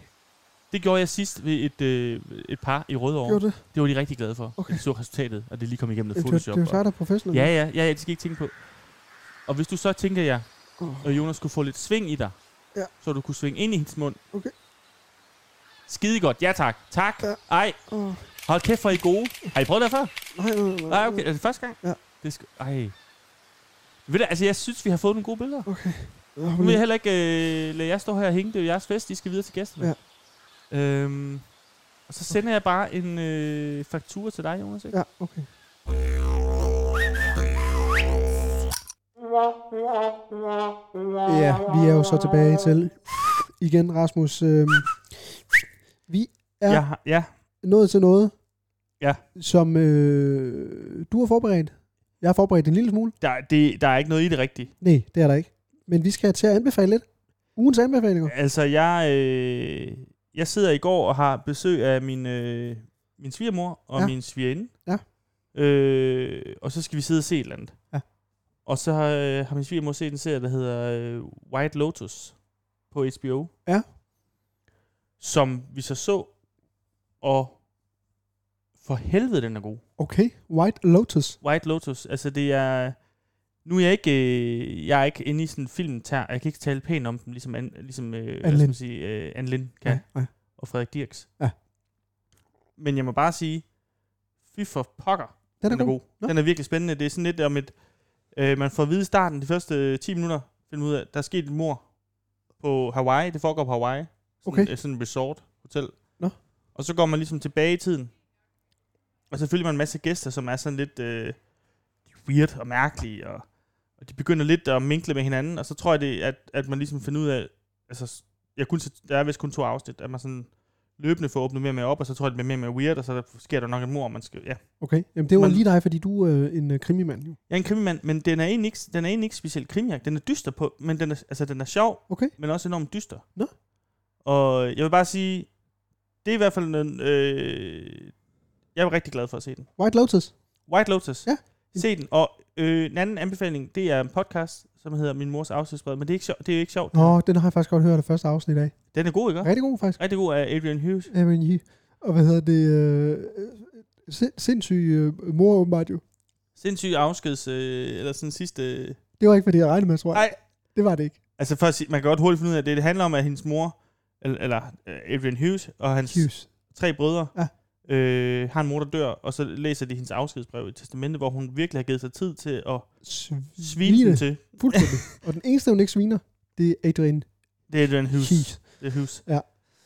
Speaker 1: Det gjorde jeg sidst ved et, øh, et par i Rødovre.
Speaker 2: gjorde det?
Speaker 1: Det var de rigtig glade for. Okay.
Speaker 2: Okay.
Speaker 1: De så resultatet, og det lige kom igennem
Speaker 2: Det
Speaker 1: noget
Speaker 2: var,
Speaker 1: Photoshop.
Speaker 2: det var
Speaker 1: og-
Speaker 2: dig, der er professionel.
Speaker 1: Ja, ja, ja, ja, det skal I ikke tænke på. Og hvis du så tænker jeg,
Speaker 2: Åh.
Speaker 1: at Jonas kunne få lidt sving i dig,
Speaker 2: Ja.
Speaker 1: så du kunne svinge ind i hendes mund.
Speaker 2: Okay.
Speaker 1: Skide godt, ja tak. Tak.
Speaker 2: Ja.
Speaker 1: Ja. Ej,
Speaker 2: Åh, øh,
Speaker 1: hold kæft, for I er gode. Har I prøvet det før?
Speaker 2: nej, nej, nej,
Speaker 1: Nej, okay, er det første gang?
Speaker 2: Ja.
Speaker 1: Det skal, ej. Ved du, altså jeg synes, vi har fået nogle gode billeder.
Speaker 2: Okay. Jeg
Speaker 1: Nu
Speaker 2: hopper
Speaker 1: vil jeg
Speaker 2: lige-
Speaker 1: heller ikke øh, lade jer stå her og hænge. Det er jo jeres fest, I skal videre til gæsterne. Ja. Øhm, og så sender jeg bare en øh, faktura til dig, Jonas. Ikke?
Speaker 2: Ja, okay. Ja, vi er jo så tilbage til igen, Rasmus. Øh, vi Ja.
Speaker 1: Jeg har, ja,
Speaker 2: nået til noget,
Speaker 1: Ja.
Speaker 2: som øh, du har forberedt. Jeg har forberedt en lille smule.
Speaker 1: der, det, der er ikke noget i det rigtige.
Speaker 2: Nej, det er der ikke. Men vi skal til at anbefale lidt. Ugens anbefalinger.
Speaker 1: Altså, jeg, øh, jeg sidder i går og har besøg af min, øh, min svigermor og
Speaker 2: Ja.
Speaker 1: ja. min svigerinde.
Speaker 2: Ja.
Speaker 1: Øh, og så skal vi sidde og se et eller andet.
Speaker 2: Ja.
Speaker 1: Og så har, øh, har min svigermor set en serie, der hedder øh, White Lotus på HBO.
Speaker 2: Ja.
Speaker 1: Som vi så så, og for helvede, den er god.
Speaker 2: Okay, White Lotus.
Speaker 1: White Lotus, altså det er... Nu er jeg ikke, øh, jeg er ikke inde i sådan en film, jeg kan ikke tale pænt om dem, ligesom, an, ligesom øh, hvad skal
Speaker 2: Lind.
Speaker 1: man sige, øh, Anne Lind kan, ja.
Speaker 2: ja.
Speaker 1: og Frederik Dirks.
Speaker 2: Ja.
Speaker 1: Men jeg må bare sige, fy for pokker,
Speaker 2: Den er, den er god. Nå.
Speaker 1: god. Den er virkelig spændende. Det er sådan lidt om et, øh, man får at vide i starten, de første øh, 10 minutter, finder man ud af, der er sket et mor på Hawaii, det foregår på Hawaii. Sådan,
Speaker 2: Okay.
Speaker 1: øh, sådan et resort, hotel.
Speaker 2: Nå.
Speaker 1: Og så går man ligesom tilbage i tiden, og så følger man en masse gæster, som er sådan lidt øh, weird og mærkelige, og, og de begynder lidt at minkle med hinanden, og så tror jeg, det, at, at man ligesom finder ud af, altså, s- jeg kunne, der er vist kun to afsnit, at man sådan løbende får åbnet mere og mere op, og så tror jeg, det bliver mere og mere weird, og så sker der nok et mor, og man skal, ja.
Speaker 2: Okay, Jamen, det var
Speaker 1: Men-
Speaker 2: lige dig, fordi du er øh, en øh, krimimand. Jo.
Speaker 1: Jeg er en krimimand, men den er egentlig ikke, den er egentlig ikke specielt krimiak. Den er dyster på, men den er, altså, den er sjov,
Speaker 2: Okay.
Speaker 1: men også enormt dyster.
Speaker 2: Nå.
Speaker 1: Og jeg vil bare sige, det er i hvert fald en, øh, jeg er rigtig glad for at se den.
Speaker 2: White Lotus.
Speaker 1: White Lotus.
Speaker 2: Ja.
Speaker 1: Se den. Og øh, en anden anbefaling, det er en podcast, som hedder Min Mors Afsøgsbred, men det er, ikke sjov, det er jo ikke sjovt.
Speaker 2: Nå, den har jeg faktisk godt hørt det første afsnit af.
Speaker 1: Den er god, ikke?
Speaker 2: Rigtig god, faktisk.
Speaker 1: Rigtig god af Adrian Hughes.
Speaker 2: Jamen, I, og hvad hedder det? Øh, sind, sindssyg øh, mor, åbenbart jo.
Speaker 1: Sindssyg afskeds, øh, eller sådan sidste... Øh,
Speaker 2: Det var ikke, hvad jeg regnede med, tror jeg.
Speaker 1: Nej.
Speaker 2: Det var det ikke.
Speaker 1: Altså for at sige, man kan godt hurtigt finde ud af, at det, det handler om, at hendes mor, eller, eller øh, Adrian Hughes og hans
Speaker 2: Hughes.
Speaker 1: tre brødre,
Speaker 2: Ja.
Speaker 1: øh, har en mor, der dør, og så læser de hendes afskedsbrev i testamentet, hvor hun virkelig har givet sig tid til at svine dem til.
Speaker 2: Fuldstændig. (laughs) og den eneste, hun ikke sviner, det er Adrian
Speaker 1: Det er Adrian Hughes.
Speaker 2: Hughes.
Speaker 1: Det er Hughes.
Speaker 2: Ja.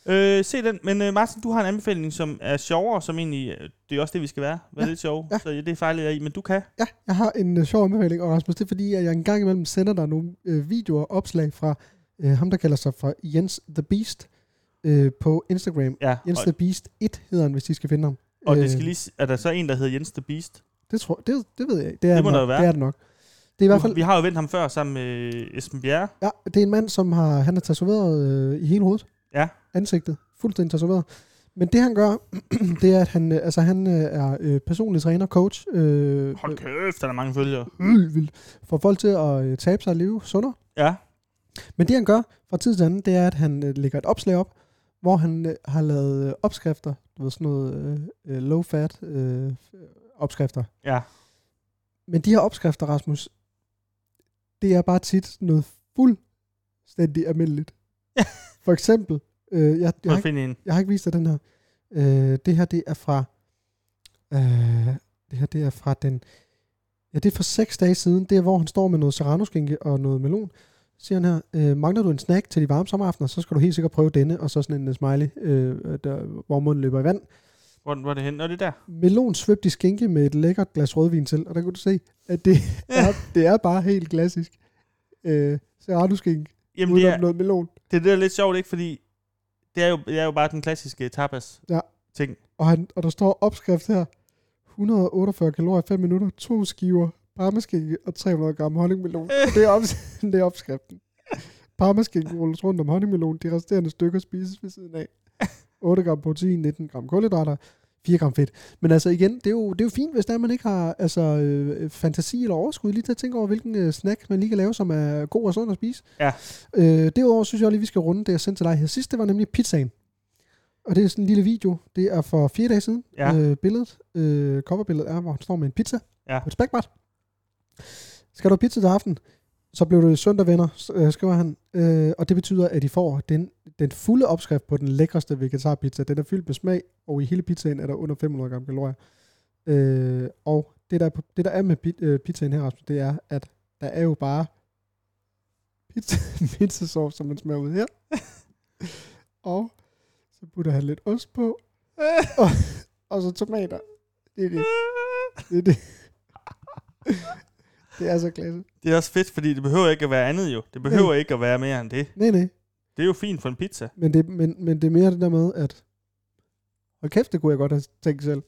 Speaker 1: Øh, se den, men øh, Martin, du har en anbefaling, som er sjovere, som egentlig, øh, det er også det, vi skal være, være
Speaker 2: Ja,
Speaker 1: lidt sjov,
Speaker 2: ja.
Speaker 1: så ja, det fejler jeg i, men du kan.
Speaker 2: Ja, jeg har en øh, sjov anbefaling, og Rasmus, det er fordi, at jeg en gang imellem sender dig nogle øh, videoer og opslag fra øh, ham, der kalder sig for Jens The Beast øh, på Instagram.
Speaker 1: Ja,
Speaker 2: Jens
Speaker 1: og,
Speaker 2: The Beast 1 hedder han, hvis I skal finde ham.
Speaker 1: og
Speaker 2: Øh,
Speaker 1: det skal lige, s- er der så en, der hedder Jens the Beast?
Speaker 2: Det, tror, det, det ved jeg ikke. Det, er
Speaker 1: Det må
Speaker 2: nok,
Speaker 1: der være.
Speaker 2: Det er det nok. Det er i hvert fald,
Speaker 1: Vi har jo vendt ham før sammen med øh, Esben Bjerre.
Speaker 2: ja, det er en mand, som har, han har tatoveret øh, i hele hovedet.
Speaker 1: Ja.
Speaker 2: Ansigtet. Fuldstændig tatoveret. Men det han gør, (clears throat) det er, at han, øh, altså, han øh, er øh, personlig træner, coach. Øh,
Speaker 1: Hold kæft, der er mange følgere.
Speaker 2: øh, vildt. Får folk til at øh, tabe sig og leve sundere.
Speaker 1: Ja,
Speaker 2: Men det han gør fra tid til anden, det er, at han øh, lægger et opslag op, hvor han øh, har lavet øh, opskrifter, du ved, sådan noget øh, øh, low-fat øh, f- opskrifter.
Speaker 1: ja.
Speaker 2: Men de her opskrifter, Rasmus, det er bare tit noget fuldstændig almindeligt. For eksempel, øh, jeg, jeg,
Speaker 1: Prøv
Speaker 2: har
Speaker 1: at
Speaker 2: ikke,
Speaker 1: finde en.
Speaker 2: jeg har ikke vist dig den her. Øh, det her, det er fra... Øh, det her, det er fra den... Ja, det er for seks dage siden. Det er, hvor han står med noget serranoskinke og noget melon. Så Siger han her, øh, mangler du en snack til de varme sommeraftener, så skal du helt sikkert prøve denne, og så sådan en øh, smiley, øh, der, hvor munden løber i vand.
Speaker 1: Hvor, hvor er det hen? Nå, det er der.
Speaker 2: Melon svøbt i skinke med et lækkert glas rødvin til, og der kunne du se, at det er, det er bare helt klassisk. Øh, Serrano-skink,
Speaker 1: Jamen, det
Speaker 2: uden
Speaker 1: er,
Speaker 2: om noget melon.
Speaker 1: det, er det der er lidt sjovt, ikke? Fordi det er jo, det er jo bare den klassiske
Speaker 2: Ja.
Speaker 1: tapas-ting.
Speaker 2: Og, han, og der står opskrift her. 148 kalorier i 5 minutter, to skiver parmaskinke og 300 gram honningmelon.
Speaker 1: Øh.
Speaker 2: Og Det er, ops- (laughs) det er opskriften. Parmaskinke rulles rundt om
Speaker 1: (laughs)
Speaker 2: honningmelon. De resterende stykker spises ved siden af. 8 gram protein, 19 gram kulhydrater, 4 gram fedt. Men altså igen, det er jo, det er jo fint, hvis der man ikke har altså, øh, fantasi eller overskud lige til at tænke over, hvilken øh, snack man lige kan lave, som er god og sund at spise.
Speaker 1: Ja.
Speaker 2: Øh, derudover synes jeg lige, vi skal runde det, jeg sendte til dig her sidst. Det var nemlig pizzaen. Og det er sådan en lille video. Det er for fire dage siden.
Speaker 1: Ja.
Speaker 2: Øh, billedet, øh, coverbilledet er, hvor han står med en pizza
Speaker 1: Ja.
Speaker 2: på et spækbræt. Skal du have pizza til aften? Så blev det søndag, venner, s- øh, skriver han. Øh, og det betyder, at I får den, den fulde opskrift på den lækreste vegetarpizza. Den er fyldt med smag, og i hele pizzaen er der under 500 gram kalorier. Øh, og det der, er på- det, der er med pi- øh, pizzaen her, Rasmus, det er, at der er jo bare pizza, (laughs) pizzasauce, som man smager ud her. og så putter han lidt ost på, og, og så tomater. Det er det. Det er det. det er så klasse.
Speaker 1: Det er også fedt, fordi det behøver ikke at være andet jo. Det behøver ikke at være mere end det.
Speaker 2: Nej, nej.
Speaker 1: Det er jo fint for en pizza.
Speaker 2: Men det, men, men det er mere det der med, at hold kæft, det kunne jeg godt have tænkt selv.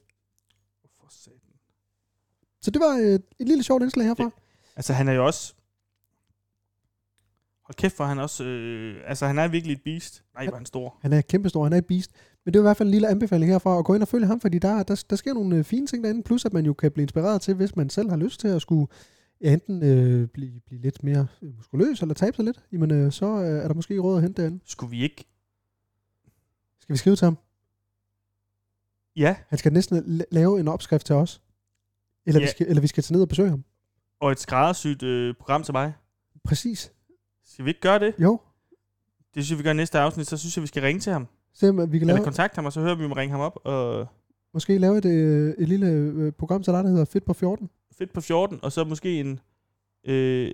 Speaker 2: Så det var øh, et lille sjovt indslag herfra.
Speaker 1: Det- Altså han er jo også... Hold kæft, for han er også... Øh, altså han er virkelig et beast. Nej, hvor er han stor.
Speaker 2: Han er kæmpestor, han er et beast. Men det er i hvert fald en lille anbefaling herfra at gå ind og følge ham, fordi der, der, der sker nogle øh, fine ting derinde, plus at man jo kan blive inspireret til, hvis man selv har lyst til at skulle ja, enten øh, blive, blive lidt mere øh, muskuløs eller tabe sig lidt, jamen øh, så øh, er der måske råd at hente derinde.
Speaker 1: Skulle vi ikke...
Speaker 2: Skal vi skrive til ham?
Speaker 1: Ja,
Speaker 2: Han skal næsten la- lave en opskrift til os. Eller, yeah.
Speaker 1: Ja.
Speaker 2: vi skal, eller vi skal tage ned og besøge ham.
Speaker 1: og et skræddersyet øh, program til mig.
Speaker 2: Præcis.
Speaker 1: Skal vi ikke gøre det?
Speaker 2: Jo.
Speaker 1: Det synes jeg, vi gør i næste afsnit. Så synes jeg, vi skal ringe til ham.
Speaker 2: Se om at vi kan
Speaker 1: Eller
Speaker 2: lave,
Speaker 1: kontakte ham, og så hører vi, om vi ringer ham op. Og
Speaker 2: måske lave et, øh, et lille øh, program til dig, der hedder Fedt på 14.
Speaker 1: fedt på 14, og så måske en... Øh,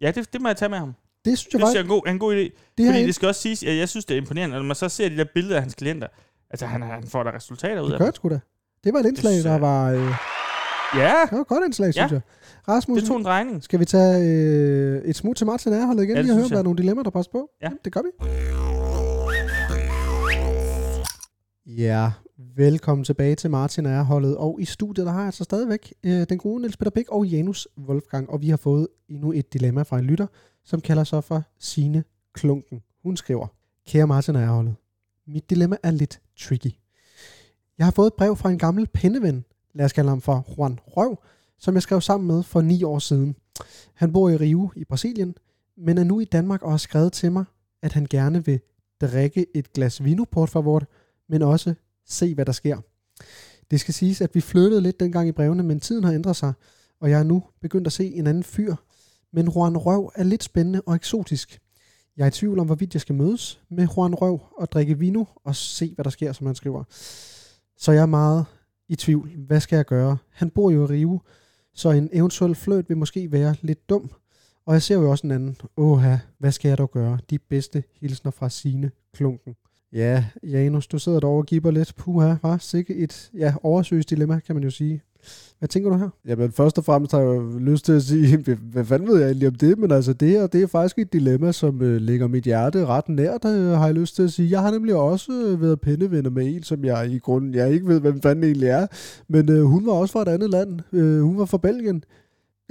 Speaker 1: ja, det, det må jeg tage med ham. Det
Speaker 2: Det synes jeg
Speaker 1: synes
Speaker 2: faktisk,
Speaker 1: jeg er en god, er en god idé.
Speaker 2: det her
Speaker 1: Fordi det
Speaker 2: det,
Speaker 1: skal også siges, at jeg synes, det er imponerende, når man så ser de der billeder af hans klienter. Altså, han, han får der resultater ud
Speaker 2: det
Speaker 1: af
Speaker 2: gør
Speaker 1: dem.
Speaker 2: det sgu da. Det var et indslag,
Speaker 1: synes
Speaker 2: der
Speaker 1: jeg-
Speaker 2: var, øh,
Speaker 1: Ja,
Speaker 2: det var et godt indslag, synes jeg. Rasmus,
Speaker 1: det tog en regning.
Speaker 2: skal vi tage øh, et smut til Martin Erholdet igen,
Speaker 1: Ja,
Speaker 2: ja,
Speaker 1: det
Speaker 2: lige at høre,
Speaker 1: synes
Speaker 2: om der
Speaker 1: jeg.
Speaker 2: er nogle dilemmaer, der passer på?
Speaker 1: Ja.
Speaker 2: Jamen, det gør vi. Ja, velkommen tilbage til Martin og Erholdet. Og i studiet, der har jeg så stadigvæk øh, den gode Niels Peter Bæk og Janus Wolfgang. Og vi har fået endnu et dilemma fra en lytter, som kalder sig for Sine Klunken. Hun skriver, Kære Martin og Erholdet, mit dilemma er lidt tricky. Jeg har fået et brev fra en gammel penneven, lad os kalde ham for Juan Røv, som jeg skrev sammen med for ni år siden. Han bor i Rio i Brasilien, men er nu i Danmark og har skrevet til mig, at han gerne vil drikke et glas vino port favor, men også se, hvad der sker. Det skal siges, at vi flyttede lidt dengang i brevene, men tiden har ændret sig, og jeg er nu begyndt at se en anden fyr. Men Juan Røv er lidt spændende og eksotisk. Jeg er i tvivl om, hvorvidt jeg skal mødes med Juan Røv og drikke vino og se, hvad der sker, som han skriver. Så jeg er meget i tvivl. Hvad skal jeg gøre? Han bor jo i Rio, så en eventuel fløjt vil måske være lidt dum. Og jeg ser jo også en anden. Åha, hvad skal jeg dog gøre? De bedste hilsner fra sine klunken. Ja, Janus, du sidder derovre og giver lidt. Puha, var sikke et ja, oversøgt dilemma, kan man jo sige. Hvad tænker du her?
Speaker 3: Jamen, først og fremmest har jeg jo lyst til at sige, (laughs) "Hvad- hvad fanden ved jeg egentlig om det? Men altså, det her, det er faktisk et dilemma, som øh, ligger mit hjerte ret nært, øh, har jeg lyst til at sige. Jeg har nemlig også øh, været pindevenner med en, som jeg i grunden, jeg ikke ved, hvem fanden egentlig er. Men øh, hun var også fra et andet land. Øh, hun var fra Belgien.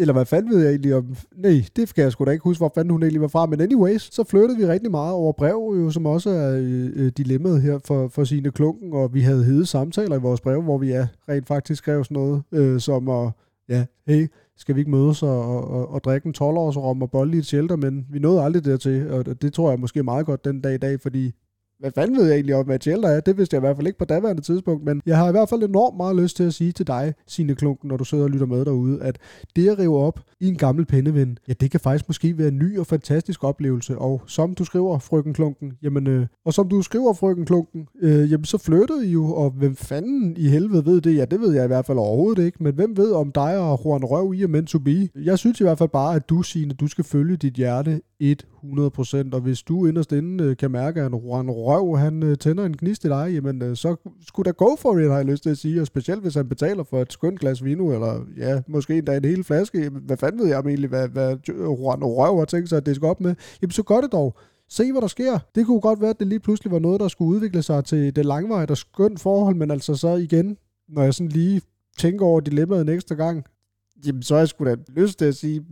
Speaker 3: Eller hvad fanden ved jeg egentlig om? Nej, det kan jeg sgu da ikke huske, hvor fanden hun egentlig var fra. Men anyways, så flyttede vi rigtig meget over brev, jo, som også er øh, øh, dilemmaet her for, for sine klunken. Og vi havde hede samtaler i vores brev, hvor vi ja, rent faktisk skrev sådan noget øh, som at ja, hey, skal vi ikke mødes og, og, og, og drikke en 12-års rom og bolle i et shelter, men vi nåede aldrig dertil, og det- det tror jeg måske er meget godt den dag i dag, fordi hvad fanden ved jeg egentlig om, hvad et shelter er? Det vidste jeg i hvert fald ikke på daværende tidspunkt, men jeg har i hvert fald enormt meget lyst til at sige til dig, Signe Klunken, når du sidder og lytter med derude, at det at rive op i en gammel pendeven, ja, det kan faktisk måske være en ny og fantastisk oplevelse, og som du skriver, frøken Klunken, jamen, øh, og som du skriver, frøken Klunken, øh, jamen, så flyttede I jo, og hvem fanden i helvede ved det? Ja, det ved jeg i hvert fald overhovedet ikke, men hvem ved om dig og Juan Røv i er meant to be? Jeg synes i hvert fald bare, at du, Signe, du skal følge dit hjerte 100%, og hvis du inderst inde øh, kan mærke, at Juan Røv, han øh, tænder en gnist i dig, jamen, øh, så skulle da go for it, har jeg lyst til at sige, og specielt hvis han betaler for et skønt glas vino, eller ja, måske endda en hel flaske, jamen, hvad fanden ved jeg om egentlig, hvad, hvad Juan Røv har tænkt sig, at det skal op med? Jamen, så gør det dog. Se, hvad der sker. Det kunne godt være, at det lige pludselig var noget, der skulle udvikle sig til det langvarige og skønt forhold, men altså så igen, når jeg sådan lige tænker over dilemmaet en ekstra gang, jamen så har jeg sgu da lyst til at sige,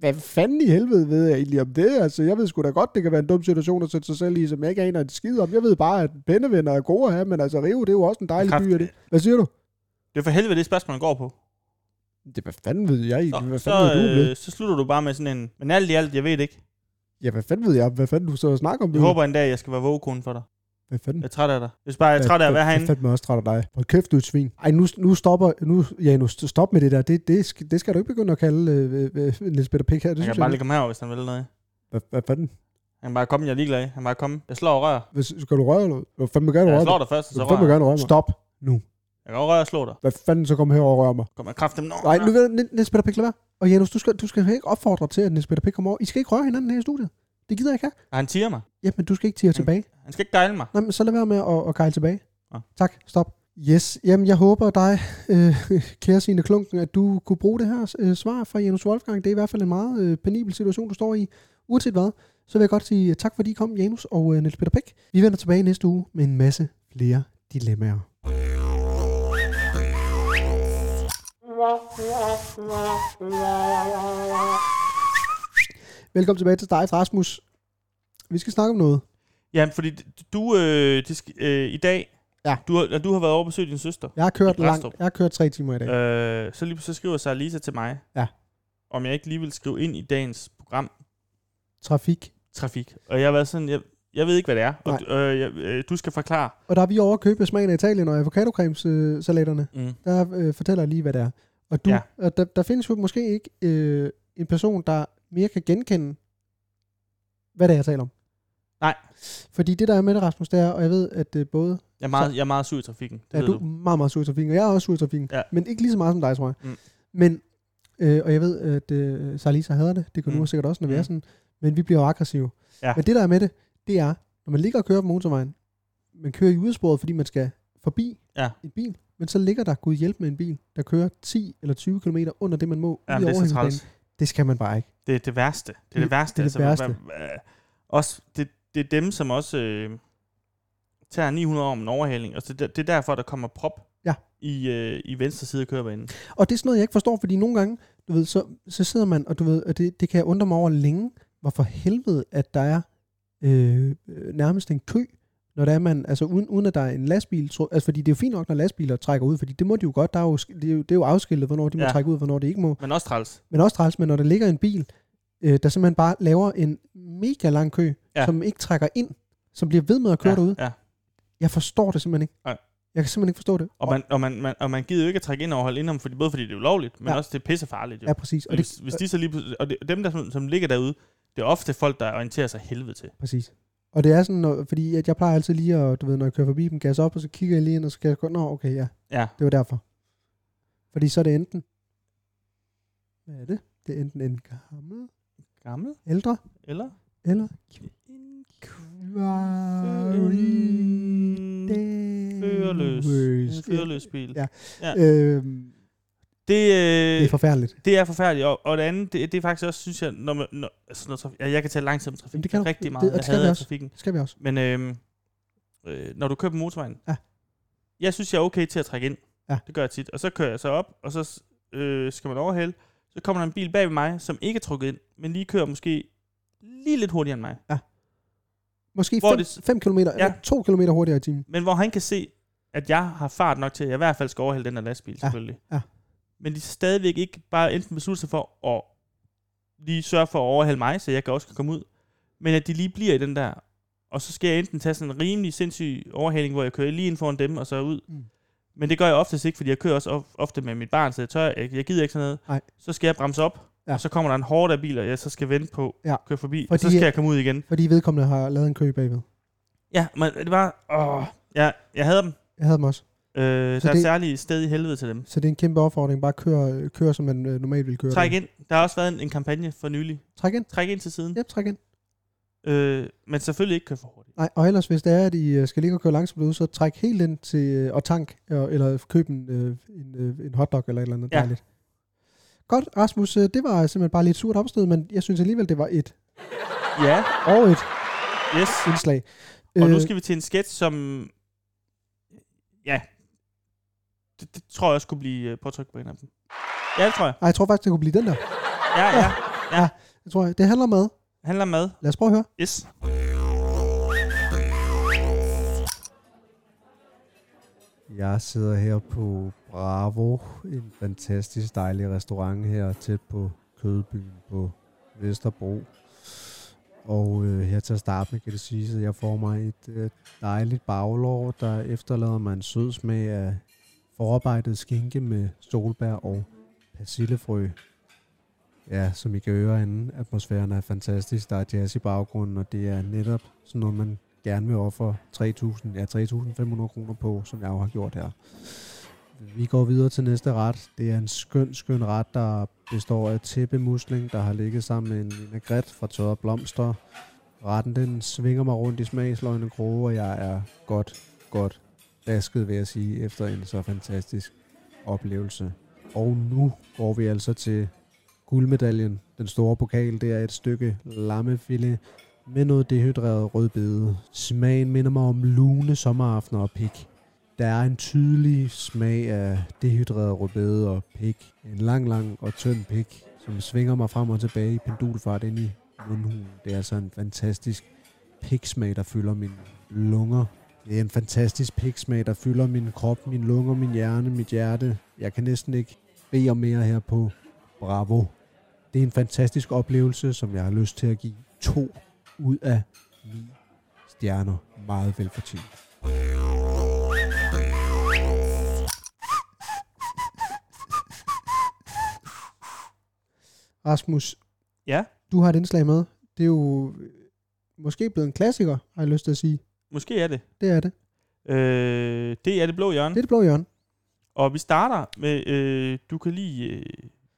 Speaker 3: hvad fanden i helvede ved jeg egentlig om det? Altså, jeg ved sgu da godt, det kan være en dum situation at sætte sig selv i, som jeg ikke aner en skid om. Jeg ved bare, at pennevenner er gode at have, men altså, Rio, det er jo også en dejlig
Speaker 1: Kraft-
Speaker 3: by, er det. Hvad siger du?
Speaker 1: Det er for helvede det spørgsmål, man går på.
Speaker 3: Det, hvad fanden ved jeg
Speaker 1: Nå,
Speaker 3: egentlig? Hvad
Speaker 1: så,
Speaker 3: fanden ved du om det?
Speaker 1: øh, så slutter du bare med sådan en, men alt i alt, jeg ved det ikke.
Speaker 3: Ja, hvad fanden ved jeg? Hvad fanden du så snakker om?
Speaker 1: Jeg
Speaker 3: nu?
Speaker 1: håber en dag, jeg skal være vågekonen for dig.
Speaker 3: Hvad fanden?
Speaker 1: Jeg er træt af dig. Jeg er bare jeg er træt af at være
Speaker 3: Jeg er
Speaker 1: herinde.
Speaker 3: fandme også træt af dig. Hold kæft, du er et svin. Ej, nu, nu stopper... Nu, ja, nu st- stop med det der. Det, det, skal, det skal du ikke begynde at kalde øh, øh, Niels Peter Pick her. Det
Speaker 1: Han
Speaker 3: synes
Speaker 1: kan
Speaker 3: jeg
Speaker 1: bare
Speaker 3: ikke.
Speaker 1: lige komme herover, hvis han vil noget.
Speaker 3: Hvad, hvad fanden?
Speaker 1: Han kan bare komme, jeg er ligeglad. Han kan bare komme. Jeg slår og rører.
Speaker 3: Hvad, skal du røre eller hvad? Hvad fanden vil gerne
Speaker 1: Ja,
Speaker 3: røre
Speaker 1: jeg slår
Speaker 3: mig?
Speaker 1: dig først,
Speaker 3: Du
Speaker 1: og så
Speaker 3: vil
Speaker 1: rører
Speaker 3: fandme
Speaker 1: jeg.
Speaker 3: gerne røre mig.
Speaker 2: Stop.
Speaker 1: Jeg kan også røre og slå dig.
Speaker 3: Hvad fanden så kom herover og rør mig?
Speaker 1: Kom med kraft dem. Nå,
Speaker 2: Nej,
Speaker 1: nå.
Speaker 2: nu vil Niels Peter Pick lade være. Og Janus, du skal, du skal ikke opfordre til, at Niels Peter Pick kommer over. I skal ikke røre hinanden her i studiet. Det gider jeg ikke have.
Speaker 1: Og Ah, Han tiger mig.
Speaker 2: Jamen, du skal ikke tire
Speaker 1: Jamen.
Speaker 2: tilbage.
Speaker 1: Han skal ikke gejle mig.
Speaker 2: Nej, men så lad være med at, at kejle tilbage.
Speaker 1: Ja.
Speaker 2: Tak, stop. Yes, jamen jeg håber dig, (laughs) øh, kære Signe Klunken, at du kunne bruge det her øh, svar fra Janus Wolfgang. Det er i hvert fald en meget øh, penibel situation, du står i. Uanset hvad, så vil jeg godt sige øh, tak, fordi I kom, Janus og øh, Niels Peter Bæk. Vi vender tilbage næste uge med en masse flere dilemmaer. Velkommen tilbage til dig, Rasmus. Vi skal snakke om noget.
Speaker 1: Jamen, fordi du øh, det skal, øh, i dag,
Speaker 2: Ja.
Speaker 1: du, har, du har været over og besøgt din søster.
Speaker 2: Jeg har kørt
Speaker 1: I
Speaker 2: langt.
Speaker 1: Brændstrup.
Speaker 2: Jeg har kørt tre timer i dag.
Speaker 1: Øh, så lige pludselig skriver sig Lisa til mig,
Speaker 2: Ja.
Speaker 1: om jeg ikke lige vil skrive ind i dagens program
Speaker 2: Trafik.
Speaker 1: Trafik. Og jeg har været sådan, jeg, jeg ved ikke, hvad det er. Og,
Speaker 2: Nej.
Speaker 1: du- øh, jeg, øh, du skal forklare.
Speaker 2: Og der er vi over at købe smagen af Italien og avocadocremessalaterne. Øh, salaterne.
Speaker 1: Mm.
Speaker 2: der øh, fortæller jeg lige, hvad det er. Og du,
Speaker 1: Ja.
Speaker 2: ja. og der, der findes jo måske ikke øh, en person, der mere kan genkende, hvad det er, jeg taler om.
Speaker 1: Nej.
Speaker 2: Fordi det, der er med det, Rasmus, det er, og jeg ved, at øh, både
Speaker 1: Jeg, er meget, jeg er meget sur i trafikken. Det
Speaker 2: er
Speaker 1: ved
Speaker 2: du, du meget, meget sur i trafikken, og jeg er også sur i trafikken,
Speaker 1: Ja.
Speaker 2: men ikke lige så meget som dig, tror jeg.
Speaker 1: Mm.
Speaker 2: Men, øh, og jeg ved, at øh, Sarlisa hader det, det kan du
Speaker 1: Mm.
Speaker 2: mm. sikkert også, når vi
Speaker 1: Mm.
Speaker 2: er sådan, men vi bliver jo aggressive.
Speaker 1: Ja.
Speaker 2: Men det, der er med det, det er, når man ligger og kører på motorvejen, man kører i ydersporet, fordi man skal forbi
Speaker 1: Ja.
Speaker 2: en bil, men så ligger der, gud hjælp med en bil, der kører 10 eller 20 km under det, man må.
Speaker 1: Jamen, det er så
Speaker 2: overhængsbanen.
Speaker 1: træls.
Speaker 2: Det skal man bare ikke.
Speaker 1: Det er det værste. Det er det
Speaker 2: Det-
Speaker 1: værste.
Speaker 2: det er det
Speaker 1: altså, hvad- hvad- også, det, det er dem, som også øh, tager 900 om en overhaling. Altså, det, det er derfor, der kommer prop
Speaker 2: Ja.
Speaker 1: i, øh, i venstre side af kørebanen.
Speaker 2: Og det er sådan noget, jeg ikke forstår, fordi nogle gange, du ved, så, så sidder man, og du ved, og det, det kan jeg undre mig over længe, hvorfor helvede, at der er øh, øh, nærmest en kø, når der er man, altså uden, uden at der er en lastbil, tror, altså fordi det er jo fint nok, når lastbiler trækker ud, fordi det må de jo godt, der er jo, sk- det, er jo, det er jo afskiltet, hvornår de må
Speaker 1: Ja.
Speaker 2: ja. trække ud, og hvornår det ikke må.
Speaker 1: Men også træls.
Speaker 2: Men også træls, men når der ligger en bil, øh, der simpelthen bare laver en mega lang kø,
Speaker 1: Ja.
Speaker 2: ja. som ikke trækker ind, som bliver ved med at køre
Speaker 1: ja,
Speaker 2: ja. derude,
Speaker 1: Ja.
Speaker 2: jeg forstår det simpelthen ikke.
Speaker 1: Nej.
Speaker 2: Jeg kan simpelthen ikke forstå det.
Speaker 1: Og, man, og, man, man, og man gider jo ikke at trække ind og holde indenom, fordi, både fordi det er ulovligt, men
Speaker 2: Ja.
Speaker 1: også det er pissefarligt. Jo.
Speaker 2: Ja, præcis.
Speaker 1: og
Speaker 2: Og
Speaker 1: hvis,
Speaker 2: det,
Speaker 1: hvis de så lige, pludselig- og det, dem, der, som, som ligger derude, det er ofte folk, der orienterer sig helvede til.
Speaker 2: Præcis. Og det er sådan, når, fordi at jeg plejer altid lige at, du ved, når jeg kører forbi dem, gas op, og så kigger jeg lige ind, og så kan jeg gå, nå, okay, ja,
Speaker 1: Ja,
Speaker 2: det var derfor. Fordi så er det enten, hvad er det? Det er enten en gammel,
Speaker 1: gammel
Speaker 2: ældre,
Speaker 1: eller
Speaker 2: eller
Speaker 1: en
Speaker 2: Føreløs.
Speaker 1: førerløs, førerløs bil.
Speaker 2: Ja.
Speaker 1: Ja.
Speaker 2: Øhm,
Speaker 1: Det, øh,
Speaker 2: det er forfærdeligt.
Speaker 1: Det er forfærdeligt, og, og det andet, det, det er faktisk også, synes jeg, når, man, når, altså, når traf, jeg, jeg kan tale langsomt om trafik
Speaker 2: Jamen, det kan du.
Speaker 1: rigtig
Speaker 2: Det-
Speaker 1: meget,
Speaker 2: og det
Speaker 1: jeg
Speaker 2: skal vi
Speaker 1: hader
Speaker 2: også.
Speaker 1: trafikken,
Speaker 2: Det skal vi også.
Speaker 1: men øhm, øh, når du kører på motorvejen,
Speaker 2: Ja.
Speaker 1: jeg synes, jeg er okay til at trække ind,
Speaker 2: Ja.
Speaker 1: det gør jeg tit, og så kører jeg så op, og så øh, skal man overhale, så kommer der en bil bag ved mig, som ikke er trukket ind, men lige kører måske lige lidt hurtigere end mig,
Speaker 2: Måske
Speaker 1: Hvor er
Speaker 2: 5
Speaker 1: det s-
Speaker 2: det... km, eller 2 km hurtigere i timen.
Speaker 1: men hvor han kan se, at jeg har fart nok til, at jeg i hvert fald skal overhale den her lastbil,
Speaker 2: Ja,
Speaker 1: selvfølgelig.
Speaker 2: ja.
Speaker 1: Men de stadigvæk ikke bare enten beslutter sig for at lige sørge for at overhale mig, så jeg kan også kan komme ud, men at de lige bliver i den der, og så skal jeg enten tage sådan en rimelig sindssyg overhaling, hvor jeg kører lige ind foran dem, og så ud. Mm.
Speaker 2: Mm.
Speaker 1: Men det gør jeg oftest ikke, fordi jeg kører også of- ofte med mit barn, så jeg tør, jeg, jeg gider ikke sådan noget.
Speaker 2: Nej.
Speaker 1: Så skal jeg bremse op, ja.
Speaker 2: Ja.
Speaker 1: og så kommer der en hård af bil, og jeg så skal vente på
Speaker 2: Ja.
Speaker 1: køre forbi, og
Speaker 2: Fordi-
Speaker 1: så skal jeg komme ud igen.
Speaker 2: Fordi vedkommende har lavet en kø bagved.
Speaker 1: Ja, men det var, åh, ja, jeg havde dem.
Speaker 2: Jeg havde dem også.
Speaker 1: Øh, der er
Speaker 2: det-
Speaker 1: særligt sted i helvede til dem.
Speaker 2: Så det er en kæmpe opfordring. Bare kør, kør som man øh, normalt ville køre.
Speaker 1: Træk ind. Der har også været en, en kampagne for nylig.
Speaker 2: Træk ind.
Speaker 1: Træk ind til siden.
Speaker 2: Yep, træk ind.
Speaker 1: Ja. Øh, men selvfølgelig ikke køre for hurtigt.
Speaker 2: Nej, og ellers hvis det er, at I øh, skal ligge og køre langsomt ud, så træk helt ind til øh, og tank, og, eller køb en, øh, en, øh, en hotdog eller et eller andet
Speaker 1: Ja.
Speaker 2: ja. dejligt. Godt, Rasmus, øh, det var simpelthen bare lidt surt opstød, men jeg synes alligevel, det var et
Speaker 1: Ja,
Speaker 2: og et
Speaker 1: yes.
Speaker 2: indslag.
Speaker 1: Og nu
Speaker 2: Øh,
Speaker 1: skal vi til en sketch, som... Ja. Det, det tror jeg også kunne blive øh, påtrykt på en af dem. Ja, det tror jeg.
Speaker 2: Ej, jeg tror faktisk, det kunne blive den der.
Speaker 1: Ja, ja. Ja.
Speaker 2: Det tror jeg. Det handler om mad.
Speaker 1: Handler om mad.
Speaker 2: Lad os prøve at høre.
Speaker 1: Yes.
Speaker 3: Jeg sidder her på Bravo, en fantastisk dejlig restaurant her tæt på Kødbyen på Vesterbro. Og øh, her til at starte med kan det sige, at jeg får mig et øh, dejligt baglår, der efterlader mig en sød smag af forarbejdet skinke med solbær og persillefrø. Ja, som I kan høre herinde, atmosfæren er fantastisk, der er jazz i baggrunden, og det er netop sådan noget, man gerne vil ofre 3.000, ja, 3.500 kroner på, som jeg jo har gjort her. Vi går videre til næste ret. Det er en skøn, skøn ret, der består af tæppemusling, der har ligget sammen med en vinaigrette fra tørrede blomster. Retten den svinger mig rundt i smagsløgne kroge, og jeg er godt, godt dasket, vil jeg sige, efter en så fantastisk oplevelse. Og nu går vi altså til guldmedaljen. Den store pokal, det er et stykke lammefilet med noget dehydreret rødbede. Smagen minder mig om lune sommeraftener og pik. Der er en tydelig smag af dehydreret rødbede og pik. En lang, lang og tynd pik, som svinger mig frem og tilbage i pendulfart ind i mundhulen. Det er altså en fantastisk piksmag, der fylder mine lunger. Det er en fantastisk piksmag, der fylder min krop, mine lunger, min hjerne, mit hjerte. Jeg kan næsten ikke bede om mere her på Bravo. Det er en fantastisk oplevelse, som jeg har lyst til at give to ud af 9 stjerner. Meget velfortjent.
Speaker 2: Rasmus,
Speaker 1: Ja.
Speaker 2: du har et indslag med. Det er jo øh, måske blevet en klassiker, har jeg lyst til at sige.
Speaker 1: Måske er det.
Speaker 2: Det er det.
Speaker 1: Øh, det er det blå hjørne.
Speaker 2: Det er det blå hjørne.
Speaker 1: Og vi starter med, øh, du kan lige øh,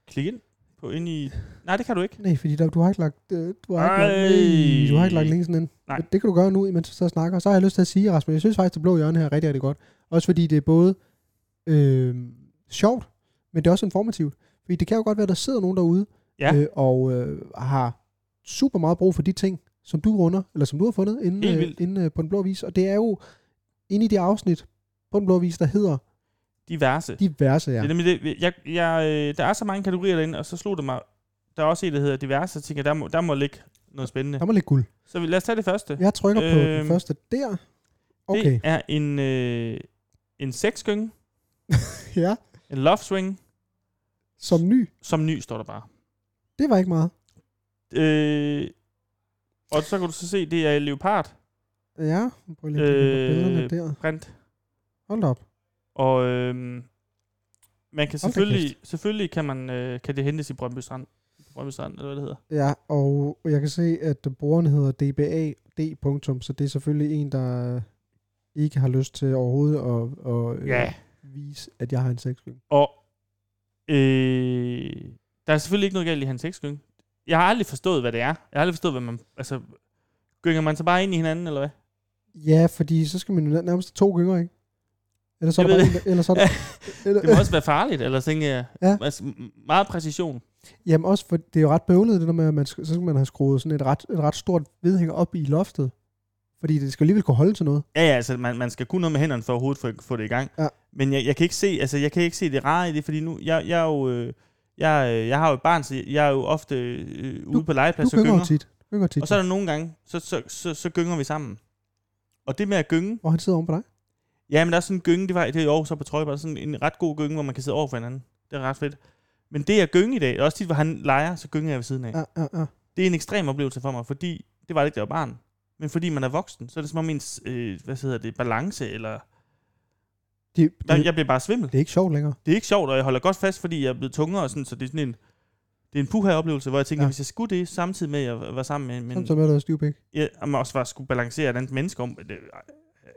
Speaker 1: klikke ind på ind i... Nej, det kan du ikke.
Speaker 2: Nej, fordi der, du har ikke lagt, øh, du har ikke lagt,
Speaker 1: Ej.
Speaker 2: nej, du har ikke lagt linken ind.
Speaker 1: Nej.
Speaker 2: Det kan du gøre nu, imens vi så snakker. Så har jeg lyst til at sige, Rasmus, jeg synes faktisk, det blå hjørne her er rigtig, rigtig godt. Også fordi det er både øh, sjovt, men det er også informativt. Fordi det kan jo godt være, at der sidder nogen derude,
Speaker 1: Ja.
Speaker 2: øh, og øh, har super meget brug for de ting, som du runder, eller som du har fundet inde,
Speaker 1: Helt
Speaker 2: øh,
Speaker 1: vildt.
Speaker 2: inde øh, på Den Blå Vis. Og det er jo inde i det afsnit på Den Blå Vis, der hedder
Speaker 1: Diverse.
Speaker 2: Diverse, ja.
Speaker 1: Det er nemlig det. Jeg, jeg, øh, der er så mange kategorier derinde, og så slog det mig. Der er også en, der hedder diverse, og tænker, der må, der må ligge noget spændende.
Speaker 2: Der må lidt guld.
Speaker 1: Så vi- lad os tage det første.
Speaker 2: Jeg trykker på den
Speaker 1: Øhm,
Speaker 2: første der. Okay,
Speaker 1: Det er en, øh, en sexgynge,
Speaker 2: ja.
Speaker 1: en love swing,
Speaker 2: Som ny.
Speaker 1: som ny, står der bare.
Speaker 2: Det var ikke meget.
Speaker 1: Øh, og så kan du så se, det er leopard,
Speaker 2: Ja, prøv lige at kigge på
Speaker 1: Øh,
Speaker 2: billederne der.
Speaker 1: print.
Speaker 2: Hold da op.
Speaker 1: Og øh, man kan
Speaker 2: da
Speaker 1: selvfølgelig, selvfølgelig kan, man, øh, kan det hentes i Brøndby Strand. Brøndby Strand, eller hvad det hedder.
Speaker 2: Ja, og jeg kan se, at brugeren hedder dbad. punktum, så det er selvfølgelig en, der ikke har lyst til overhovedet at, at øh,
Speaker 1: Ja.
Speaker 2: vise, at jeg har en sexskyld.
Speaker 1: Og øh, der er selvfølgelig ikke noget galt i hans sexgynge. Jeg har aldrig forstået, hvad det er. Jeg har aldrig forstået, hvad man... Altså, gynger man så bare ind i hinanden, eller hvad?
Speaker 2: Ja, fordi så skal man jo nærmest have to gynger, ikke? Eller så er der
Speaker 1: Jeg ved
Speaker 2: bare en, der- eller så er der, eller,
Speaker 1: (laughs) Det må også være farligt, eller tænker jeg.
Speaker 2: Ja.
Speaker 1: Ja. Altså, m- meget præcision.
Speaker 2: Jamen også, for det er jo ret bøvlet, det der med, at man skal, så skal man have skruet sådan et ret, et ret stort vedhænger op i loftet. Fordi det skal alligevel kunne holde til noget.
Speaker 1: Ja, ja, altså, man, man skal kunne noget med hænderne for overhovedet for at få det i gang.
Speaker 2: Ja.
Speaker 1: Men jeg, jeg, kan ikke se, altså, jeg kan ikke se det rare i det, fordi nu, jeg, jeg er jo... Øh, jeg, øh, jeg har jo et barn, så jeg er jo ofte øh, ude på
Speaker 2: Du
Speaker 1: legeplads og
Speaker 2: gynger jo
Speaker 1: gynger.
Speaker 2: tit. Du gynger tit.
Speaker 1: Og så er der nogle gange, så, så, så, så gynger vi sammen. Og det med at gynge,
Speaker 2: Hvor han sidder oven på dig.
Speaker 1: Ja, men der er sådan en gynge, det var det er i Aarhus så på Trøjborg, der er sådan en ret god gynge, hvor man kan sidde over for hinanden. Det er ret fedt. Men det at gynge i dag, og også tit, hvor han leger, så gynger jeg ved siden af. Ja.
Speaker 2: Ja, ja, ja.
Speaker 1: Det er en ekstrem oplevelse for mig, fordi det var det ikke, da jeg var barn. Men fordi man er voksen, så er det som om ens, øh, hvad hedder det, balance, eller...
Speaker 2: Det,
Speaker 1: Der,
Speaker 2: det,
Speaker 1: jeg bliver bare svimmel.
Speaker 2: det er ikke sjovt længere.
Speaker 1: Det er ikke sjovt, og jeg holder godt fast, fordi jeg er blevet tungere, og sådan, så det er sådan en... Det er en puha oplevelse, hvor jeg tænker,
Speaker 2: Ja.
Speaker 1: ja. hvis jeg skulle det, samtidig med, at jeg var sammen med,
Speaker 2: Men,
Speaker 1: men
Speaker 2: Samtidig med, at du er stivpæk.
Speaker 1: jeg, og man også var, skulle balancere et andet menneske om, det,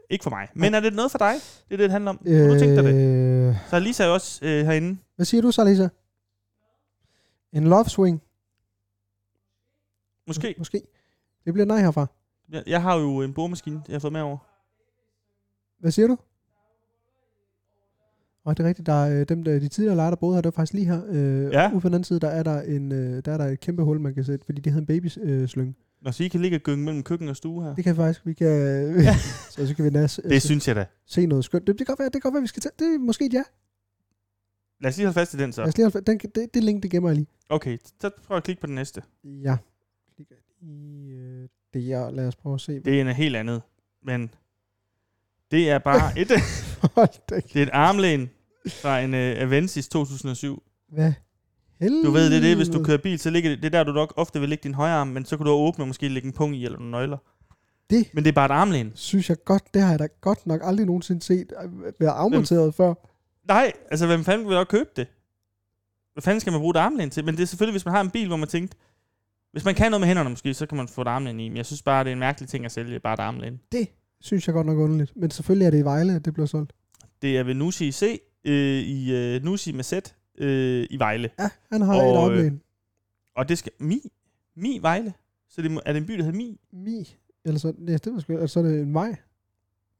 Speaker 1: ikke for mig. Men er det noget for dig? Det er det, det handler om. Øh, du tænkte dig det.
Speaker 2: Øh,
Speaker 1: Så er Lisa jo også øh, herinde.
Speaker 2: Hvad siger du så, Lisa? En love swing?
Speaker 1: Måske.
Speaker 2: Måske. Det bliver nej herfra.
Speaker 1: Jeg, jeg har jo en boremaskine, jeg har fået med over.
Speaker 2: Hvad siger du? Og det er rigtigt, der er, øh, dem, der, de tidligere lejre, der boede her, det var faktisk lige her. Øh,
Speaker 1: Ja.
Speaker 2: Ude på den anden side, der er der, en, øh, der er der et kæmpe hul, man kan sætte, fordi det hedder en babyslyng. Øh, slyng.
Speaker 1: Nå, så I kan ligge og gynge mellem køkken og stue her.
Speaker 2: det kan faktisk, vi kan... (laughs) så, så kan vi næs, altså,
Speaker 1: synes jeg da.
Speaker 2: se noget skønt. Det, det kan godt være, det kan godt være, vi skal tage. Det er måske et ja.
Speaker 1: Lad os lige holde fast i den så.
Speaker 2: Lad os lige holde, fa- den, det, det link, det gemmer jeg lige.
Speaker 1: Okay, så prøv at klikke på den næste.
Speaker 2: Ja. Klikker i øh, det er, lad os prøve at se.
Speaker 1: Det er en helt andet. Men det er (laughs) bare et,
Speaker 2: Hold da.
Speaker 1: det er et armlæn fra en uh, Avensis 2007.
Speaker 2: Hvad? Helvede.
Speaker 1: Du ved, det er det, hvis du kører bil, så ligger det, det er der, du nok ofte vil lægge din højre arm, men så kan du åbne og måske lægge en pung i eller nogle nøgler.
Speaker 2: Det-
Speaker 1: Men det er bare et armlæn.
Speaker 2: Synes jeg godt, det har jeg da godt nok aldrig nogensinde set øh, være afmonteret før.
Speaker 1: Nej, altså hvem fanden vil nok købe det? Hvad fanden skal man bruge et armlæn til? Men det er selvfølgelig, hvis man har en bil, hvor man tænkte, hvis man kan noget med hænderne måske, så kan man få et armlæn i. Men jeg synes bare, det er en mærkelig ting at sælge, bare et armlæn.
Speaker 2: Synes jeg godt nok underligt. Men selvfølgelig er det i Vejle, at det bliver solgt.
Speaker 1: Det er ved Nusi C, øh, i øh, Nusi med Z, øh, i Vejle.
Speaker 2: Ja, han har
Speaker 1: Og,
Speaker 2: et
Speaker 1: øh,
Speaker 2: oplæn.
Speaker 1: Og det skal... Mi? Mi Vejle? Så det, må- er det en by, der hedder Mi?
Speaker 2: Mi. Eller så, ja, det var sgu, eller så er det en vej.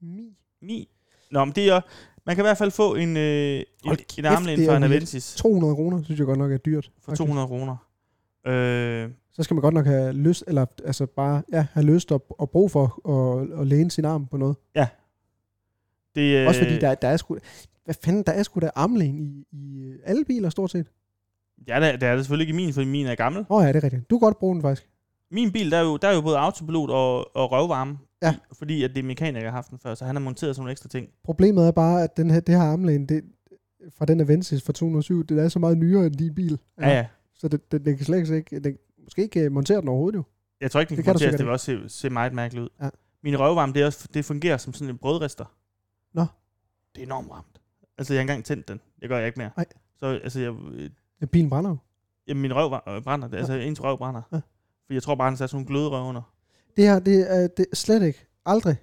Speaker 2: Mi.
Speaker 1: Mi? Nå, men det er... Man kan i hvert fald få en, øh, en,
Speaker 2: Hold
Speaker 1: en
Speaker 2: kæft,
Speaker 1: armlæn
Speaker 2: det er
Speaker 1: fra en
Speaker 2: weird.
Speaker 1: Avensis
Speaker 2: 200 kroner, synes jeg godt nok er dyrt.
Speaker 1: for 200 kroner. Øh,
Speaker 2: Så skal man godt nok have lyst, eller altså bare ja, have lyst og, og brug for at, at læne sin arm på noget.
Speaker 1: det, øh,
Speaker 2: Øh. Også fordi der, der er sgu... Hvad fanden, der er sgu da armlæn i, i alle biler stort set.
Speaker 1: Ja, det, er- det er det selvfølgelig ikke i min, fordi min er gammel.
Speaker 2: Åh oh, ja, det er rigtigt. Du kan godt bruge den faktisk.
Speaker 1: Min bil, der er jo, der er jo både autopilot og, og røvvarme.
Speaker 2: Ja.
Speaker 1: i- Fordi at det er mekaniker, der har haft den før, så han har monteret sådan nogle ekstra ting.
Speaker 2: Problemet er bare, at den her, det her armlæn, det, fra den Avensis fra 207, det er så meget nyere end din bil.
Speaker 1: Ja, ja.
Speaker 2: Så det, det, den kan slet ikke... Den, måske ikke øh, montere den overhovedet jo.
Speaker 1: Jeg tror ikke, den
Speaker 2: Det
Speaker 1: kan
Speaker 2: kan du
Speaker 1: monteres.
Speaker 2: sikkert
Speaker 1: Det vil også se, se meget mærkeligt ud.
Speaker 2: Ja.
Speaker 1: Min røvvarme, det, er også, det fungerer som sådan en brødrester.
Speaker 2: Nå.
Speaker 1: Det er enormt varmt. Altså, jeg har engang tændt den. Det gør jeg ikke mere.
Speaker 2: Nej.
Speaker 1: Så altså, jeg, øh,
Speaker 2: Ja, bilen brænder jo.
Speaker 1: jamen, min røv var- øh, brænder. Det, altså, ens røv brænder.
Speaker 2: Ja.
Speaker 1: For jeg tror bare, den satte sådan nogle gløderøv under.
Speaker 2: Det her, det er det er slet ikke. Aldrig.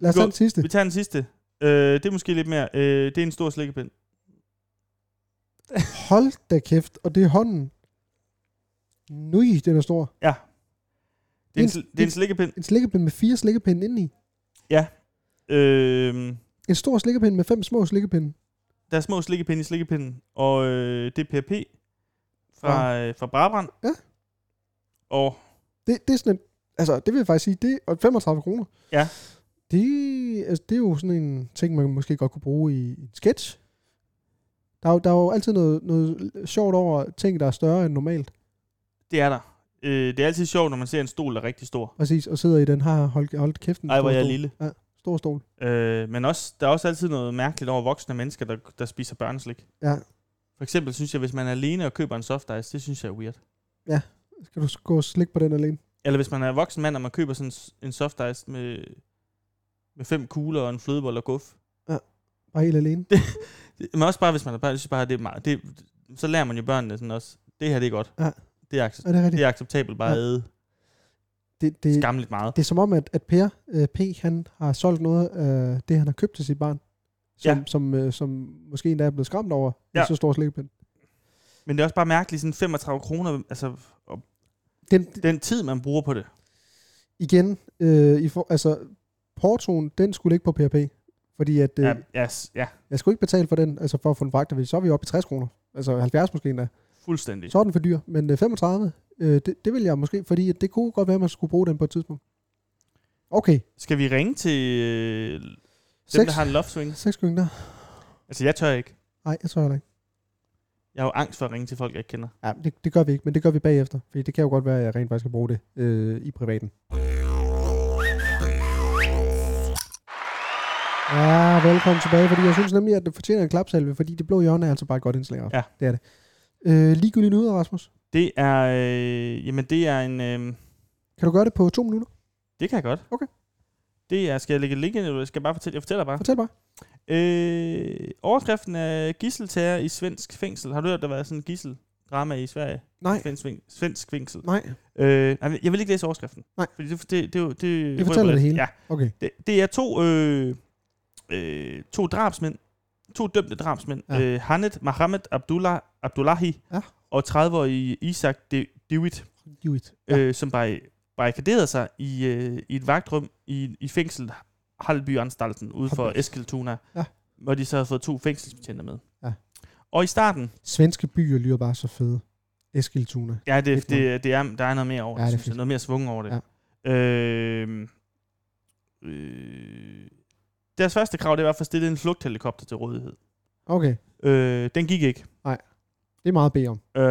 Speaker 2: Lad os
Speaker 1: Gå.
Speaker 2: tage den sidste.
Speaker 1: Vi tager den sidste. Øh, det er måske lidt mere. Øh, det er en stor slikkepind.
Speaker 2: Hold da kæft, og det er hånden. Nu den er stor.
Speaker 1: Det er en,
Speaker 2: Det er en-
Speaker 1: sl- det er en slikkepind.
Speaker 2: En slikkepind med fire slikkepinde indeni.
Speaker 1: Øh,
Speaker 2: En stor slikkepind med fem små slikkepinde.
Speaker 1: Der er små slikkepinde i slikkepinden, og øh, det er PHP fra, øh, fra Brabrand.
Speaker 2: Ja.
Speaker 1: Og
Speaker 2: Det, det er sådan en, altså det vil jeg faktisk sige, det og 35 kroner.
Speaker 1: Ja.
Speaker 2: Det, altså, det er jo sådan en ting, man måske godt kunne bruge i en sketch. Der er, jo, der er jo altid noget, noget sjovt over ting, der er større end normalt.
Speaker 1: det er der. Øh, det er altid sjovt, når man ser en stol, der er rigtig stor.
Speaker 2: Præcis, og sidder i den her, hold, hold kæft, en
Speaker 1: Ej,
Speaker 2: stor
Speaker 1: hvor jeg er
Speaker 2: stol.
Speaker 1: lille.
Speaker 2: Stor stol.
Speaker 1: Øh, men også, der er også altid noget mærkeligt over voksne mennesker, der, der spiser børneslik.
Speaker 2: Ja.
Speaker 1: For eksempel synes jeg, hvis man er alene og køber en soft ice, det synes jeg er weird.
Speaker 2: Skal du s- gå og slikke på den alene?
Speaker 1: Eller hvis man er en voksen mand, og man køber sådan en s- en soft ice med, med fem kugler og en flødebold og guf.
Speaker 2: Bare helt alene?
Speaker 1: Det- Men også bare, hvis man er børn, jeg synes bare, det er meget, det, så lærer man jo børnene sådan også, det her det er godt.
Speaker 2: Ja.
Speaker 1: Det er accept-
Speaker 2: Er det rigtigt?
Speaker 1: Det er acceptabelt bare at
Speaker 2: Ja.
Speaker 1: æde
Speaker 2: Det, det,
Speaker 1: skamligt meget.
Speaker 2: det er som om, at, at Per øh, P. han har solgt noget af det, han har købt til sit barn. Som,
Speaker 1: Ja.
Speaker 2: som, øh, som måske endda er blevet skræmt over, ja.
Speaker 1: Ja.
Speaker 2: så stor slikkepind.
Speaker 1: Men det er også bare mærkeligt, sådan 35 kroner, altså og
Speaker 2: Den,
Speaker 1: den tid, man bruger på det.
Speaker 2: igen, øh, i for, altså, portoen, den skulle ligge på PHP. Fordi at, øh,
Speaker 1: Ja,
Speaker 2: ja.
Speaker 1: ja, s- ja,
Speaker 2: jeg skulle ikke betale for den, altså for at få den fragtet, så er vi oppe i 60 kroner. Altså 70 måske endda.
Speaker 1: fuldstændig.
Speaker 2: Så er den for dyr, men øh, 35, øh, det, det vil jeg måske, fordi at det kunne godt være, at man skulle bruge den på et tidspunkt. Okay,
Speaker 1: Skal vi ringe til øh, dem,
Speaker 2: 6,
Speaker 1: der har en love swing?
Speaker 2: 6 der.
Speaker 1: Altså, jeg tør ikke.
Speaker 2: Nej, jeg tror heller ikke.
Speaker 1: Jeg har jo angst for at ringe til folk, jeg ikke kender.
Speaker 2: Ja, det, det gør vi ikke, men det gør vi bagefter. Fordi det kan jo godt være, at jeg rent faktisk kan bruge det øh, i privaten. Ja, velkommen tilbage, fordi jeg synes nemlig, at det fortjener en klapsalve, fordi det blå hjørne er altså bare et godt indslag. Rasmus.
Speaker 1: Ja.
Speaker 2: Det er det. Øh, ligegyldigt nyheder, Rasmus.
Speaker 1: Det er, øh, jamen det er en, øh,
Speaker 2: Kan du gøre det på to minutter?
Speaker 1: det kan jeg godt.
Speaker 2: Okay.
Speaker 1: Det er, skal jeg lægge et link ind, eller skal jeg bare fortælle? Jeg fortæller bare.
Speaker 2: Fortæl bare.
Speaker 1: Øh, overskriften er gisseltager i svensk fængsel. Har du hørt, der var sådan en gisseldrama i Sverige?
Speaker 2: Nej.
Speaker 1: Svensk, fæng- svensk fængsel.
Speaker 2: Nej.
Speaker 1: Øh, nej, jeg vil ikke læse overskriften.
Speaker 2: Nej.
Speaker 1: Fordi det, det, det, det,
Speaker 2: Det
Speaker 1: det
Speaker 2: fortæller det hele.
Speaker 1: Ja,
Speaker 2: Okay.
Speaker 1: det, det er to, øh, øh, to drabsmænd, to dømte drabsmænd,
Speaker 2: Ja.
Speaker 1: ja. øh, Haned Mohammed Abdullah, Abdullahi
Speaker 2: Ja.
Speaker 1: og 30-årige Isaac De, Dewitt,
Speaker 2: Do it.
Speaker 1: ja. øh, som bare barrikaderede sig i, øh, i et vagtrum i, i fængsel Halbyanstalten ude for
Speaker 2: Hold
Speaker 1: Eskiltuna,
Speaker 2: Ja.
Speaker 1: hvor de så havde fået to fængselsbetjente med.
Speaker 2: Ja.
Speaker 1: Og i starten,
Speaker 2: Svenske byer lyder bare så fede. Eskiltuna.
Speaker 1: ja,
Speaker 2: Fedt,
Speaker 1: det, det, det er, der er noget mere over
Speaker 2: Ja,
Speaker 1: ja,
Speaker 2: det er
Speaker 1: det, synes jeg,
Speaker 2: fedt.
Speaker 1: noget mere svung over det. Ja. Øh, øh, deres første krav, det var at få stillet en flugthelikopter til rådighed.
Speaker 2: Okay,
Speaker 1: Øh, den gik ikke.
Speaker 2: det er meget at bede om.
Speaker 1: Øh,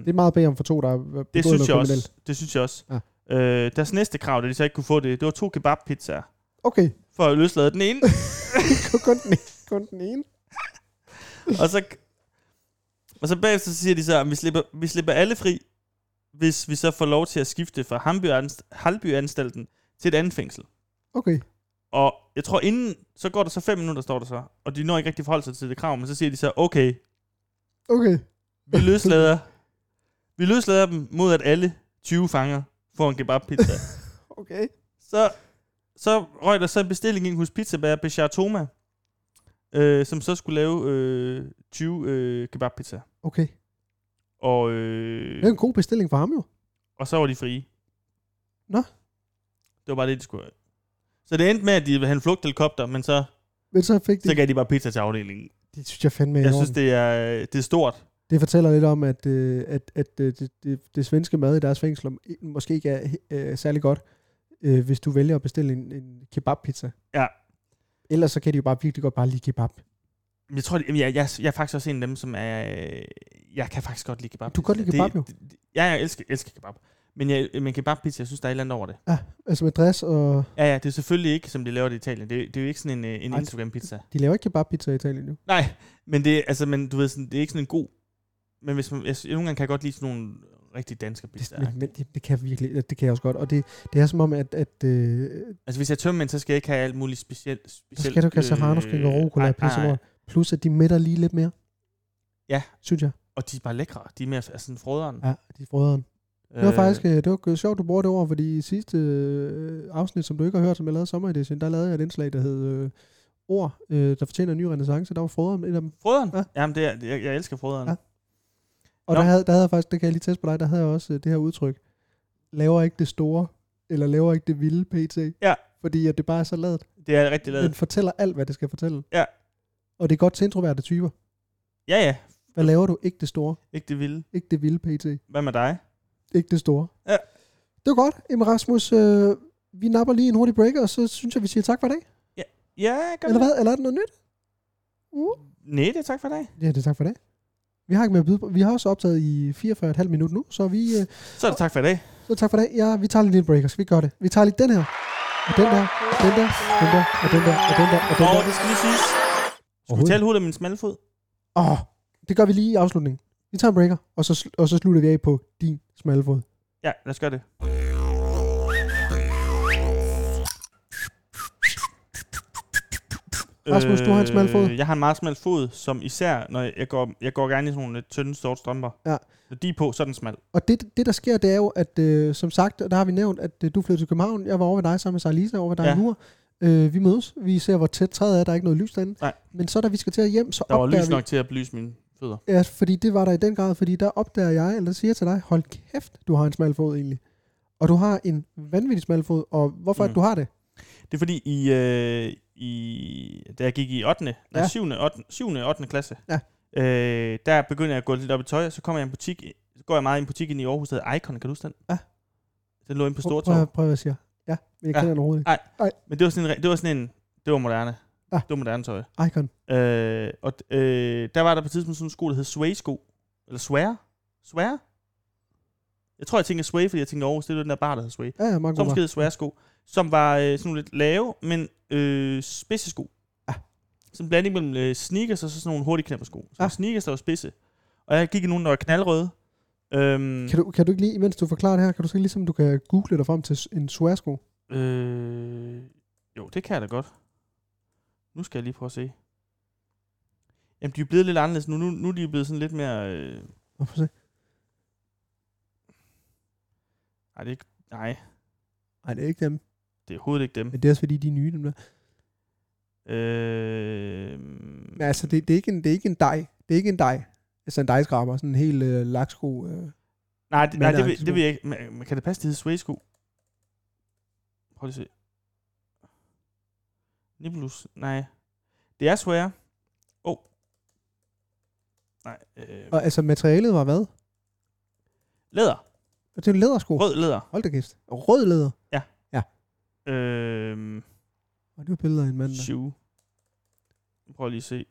Speaker 2: Det er meget at bede om for to, der er begået
Speaker 1: det, synes
Speaker 2: noget
Speaker 1: jeg
Speaker 2: kriminelt.
Speaker 1: også, det synes jeg også.
Speaker 2: Ja.
Speaker 1: Øh, deres næste krav, da de så ikke kunne få det, det var to kebabpizzaer.
Speaker 2: Okay,
Speaker 1: For at løslade den
Speaker 2: (laughs)
Speaker 1: ene.
Speaker 2: kun den ene. Kun den ene.
Speaker 1: og, så, og så bagefter så siger de så, at vi slipper, vi slipper alle fri, hvis vi så får lov til at skifte fra Hamby-anst- Halbyanstalten til et andet fængsel.
Speaker 2: Okay,
Speaker 1: Og jeg tror inden, så går der så fem minutter, står der så. Og de når ikke rigtig forholde sig til det krav, men så siger de så, okay,
Speaker 2: okay. (laughs)
Speaker 1: vi løslader, vi løslader dem mod, at alle 20 fanger får en
Speaker 2: (laughs)
Speaker 1: kebabpizza.
Speaker 2: Okay.
Speaker 1: så, så røg der så en bestilling ind hos pizzabager Bechar Thoma, øh, som så skulle lave øh, 20 øh, kebabpizza.
Speaker 2: Okay.
Speaker 1: Og,
Speaker 2: Det er
Speaker 1: øh,
Speaker 2: en god bestilling for ham jo.
Speaker 1: og så var de frie.
Speaker 2: Nå.
Speaker 1: Det var bare det, de skulle Så det endte med, at de ville have en flugthelikopter, men så,
Speaker 2: Men så fik de...
Speaker 1: så gav de bare pizza til afdelingen.
Speaker 2: Det synes jeg fandme er i
Speaker 1: Jeg
Speaker 2: orden.
Speaker 1: synes, det er, det er stort.
Speaker 2: Det fortæller lidt om, at, øh, at, at øh, det, det, det svenske mad i deres fængsler måske ikke er øh, særlig godt, øh, hvis du vælger at bestille en, en kebabpizza.
Speaker 1: Ja.
Speaker 2: Ellers så kan de jo bare virkelig godt bare lide kebab.
Speaker 1: Men Jeg tror, det, jeg, jeg, jeg er faktisk også en af dem, som er... øh, Jeg kan faktisk godt lide kebab.
Speaker 2: Du kan godt lide kebab, jo.
Speaker 1: Det, ja, jeg elsker, elsker kebab. Men, jeg, men kebabpizza, jeg synes, der er et eller andet over det.
Speaker 2: Altså med dress og...
Speaker 1: Ja, ja, det er selvfølgelig ikke, som de laver det i Italien. Det, det er jo ikke sådan en, øh, en
Speaker 2: Ej,
Speaker 1: Instagram-pizza.
Speaker 2: De laver ikke kebabpizza i Italien nu.
Speaker 1: Nej, men det, er- altså, men du ved, sådan, det er ikke sådan en god... Men hvis man, jeg, nogle gange kan jeg godt lide sådan nogle rigtig danske
Speaker 2: Det,
Speaker 1: pizzaer.
Speaker 2: men, men det, det kan jeg virkelig, det kan jeg også godt. Og det, det er som om, at, at øh,
Speaker 1: Altså, hvis jeg er tømmermænd, så skal jeg ikke have alt muligt specielt.
Speaker 2: så
Speaker 1: specielt øh,
Speaker 2: skal du ikke have serrano, skal og rucola, pisse lort. Plus at de mætter lige lidt mere.
Speaker 1: Ja.
Speaker 2: Synes jeg.
Speaker 1: Og de er bare lækre. De er mere altså, sådan frøderen.
Speaker 2: Ja, de er frøderen. Det var faktisk øh, det var sjovt, du bruger det ord, fordi i sidste øh, afsnit, som du ikke har hørt, som jeg lavede i sommeredition, der lavede jeg et indslag, der hed øh, Ord, øh, der fortjener en ny renaissance. Der var frøderen et af dem.
Speaker 1: Øh, Frøderen?
Speaker 2: Ja.
Speaker 1: Ja. Jamen, det er, jeg, jeg elsker frøderen.
Speaker 2: Ja.
Speaker 1: Ja.
Speaker 2: Og
Speaker 1: Nå.
Speaker 2: der havde, der havde jeg faktisk, det kan jeg lige teste på dig, der havde jeg også øh, det her udtryk. Laver ikke det store, eller laver ikke det vilde pt.
Speaker 1: Ja.
Speaker 2: Fordi at det bare er så ladet.
Speaker 1: Det er
Speaker 2: Den
Speaker 1: rigtig lavet.
Speaker 2: fortæller alt, hvad det skal fortælle.
Speaker 1: Ja.
Speaker 2: Og det er godt til introverte typer.
Speaker 1: Ja, ja.
Speaker 2: Hvad laver du? Ikke det store.
Speaker 1: Ikke det vilde.
Speaker 2: Ikke det vilde pt.
Speaker 1: Hvad med dig?
Speaker 2: Ikke det store.
Speaker 1: Ja.
Speaker 2: Det var godt. Jamen Rasmus, øh, vi napper lige en hurtig break, og så synes jeg, vi siger tak for i dag.
Speaker 1: Ja, gør
Speaker 2: Eller
Speaker 1: det.
Speaker 2: hvad? Eller er det noget nyt? Uh.
Speaker 1: Nej, det er tak for i dag.
Speaker 2: Ja, det er tak for det. Vi har ikke mere at byde på. Vi har også optaget i 44,5 minutter nu, så vi... Øh,
Speaker 1: Så er det tak for i dag.
Speaker 2: så tak for det. Ja, vi tager lige en lille break, og så vi gør det. Vi tager lige den her. Og den der, den der, den der, og den der, og den der, og den
Speaker 1: Og
Speaker 2: der.
Speaker 1: det skal lige siges. Skal vi tale hurtigt om min smalfod?
Speaker 2: Åh, oh, det gør vi lige i afslutningen. Vi tager en breaker, og så, sl- og så slutter vi af på din smalle fod.
Speaker 1: Ja, lad os gøre det.
Speaker 2: Rasmus, du har en smal fod.
Speaker 1: Øh, Jeg har en meget smal fod, som især, når jeg går, jeg går gerne i sådan nogle lidt tynde, sorte strømper.
Speaker 2: Ja.
Speaker 1: Når de er på, så er den smal.
Speaker 2: Og det, det, der sker, det er jo, at øh, som sagt, og der har vi nævnt, at øh, du flyttede til København. Jeg var over ved dig sammen med Sarah Lisa, over ved dig ja.
Speaker 1: Ja.
Speaker 2: i Mur. Øh, vi mødes, vi ser, hvor tæt træet er, der er ikke noget lys derinde.
Speaker 1: Nej.
Speaker 2: Men så da vi skal til at hjem, så
Speaker 1: Der var
Speaker 2: opdager
Speaker 1: lys
Speaker 2: vi...
Speaker 1: nok til at belyse mine fødder.
Speaker 2: Ja, fordi det var der i den grad, fordi der opdager jeg, eller siger jeg til dig, hold kæft, du har en smal fod egentlig. Og du har en vanvittig smal fod, og hvorfor mm.
Speaker 1: Mm.
Speaker 2: du har det?
Speaker 1: Det er fordi, i, øh, i, da jeg gik i 8. Nej,
Speaker 2: Ja.
Speaker 1: ja. 7. 8. 7. 8. klasse,
Speaker 2: Ja.
Speaker 1: øh, der begyndte jeg at gå lidt op i tøj, og så kom jeg i en butik, så går jeg meget i en butik inde i Aarhus, der hedder Icon, kan du huske den?
Speaker 2: Ja.
Speaker 1: Den lå inde på
Speaker 2: prøv, prøv,
Speaker 1: Stortorv.
Speaker 2: at- prøv at sige. Ja, men jeg
Speaker 1: Ja.
Speaker 2: kender den overhovedet
Speaker 1: Men det var sådan en, re- det var sådan en, det var moderne.
Speaker 2: Ja.
Speaker 1: Ja. Det var moderne tøj.
Speaker 2: ikke. Icon.
Speaker 1: Øh, og d- øh, der var der på et tidspunkt sådan en sko, der hed Sway sko. Eller Swear? Swear? Jeg tror, jeg tænker Sway, fordi jeg tænker Aarhus, det er den der bar, der hedder Sway.
Speaker 2: Ja, ja, meget
Speaker 1: Som
Speaker 2: god
Speaker 1: måske hed sværsko, som var øh, sådan nogle lidt lave, men øh, spidse sko.
Speaker 2: Ah.
Speaker 1: Sådan en blanding mellem øh, sneakers og så sådan nogle hurtige knappersko. Så
Speaker 2: Ah.
Speaker 1: ah. sneakers, der var spidse. Og jeg gik i nogle, der var knaldrøde. Øhm,
Speaker 2: Kan du, kan du ikke lige, imens du forklarer det her, kan du så ikke ligesom, du kan google dig frem til s- en swearsko?
Speaker 1: øh, jo, det kan jeg da godt. Nu skal jeg lige prøve at se. Jamen, de er blevet lidt anderledes nu. Nu, nu er de blevet sådan lidt mere... Øh,
Speaker 2: Nå, prøv at se.
Speaker 1: nej, det er ikke, nej,
Speaker 2: Nej, det er ikke dem.
Speaker 1: det er overhovedet ikke dem.
Speaker 2: Men det er også fordi, de er nye, dem der.
Speaker 1: Øh,
Speaker 2: Men altså, det, det, er ikke en, det er ikke en dej. Det er ikke en dej. Altså en dejskraber, sådan en helt øh, laksko. Øh.
Speaker 1: Nej, det, nej, det,
Speaker 2: Mandagtig
Speaker 1: vil, det vil jeg ikke. Men, men kan det passe, det hedder Sway-sko? Prøv lige at se. Nibelus? Nej. Det er Sway. Åh. Oh. Nej. Øh,
Speaker 2: Og altså, materialet var hvad?
Speaker 1: læder.
Speaker 2: Det er en lædersko.
Speaker 1: Rød læder.
Speaker 2: Hold da kæft. Rød læder.
Speaker 1: Øh, Øhm,
Speaker 2: Og det var billeder af en mand, der.
Speaker 1: shoe. Prøv lige at se.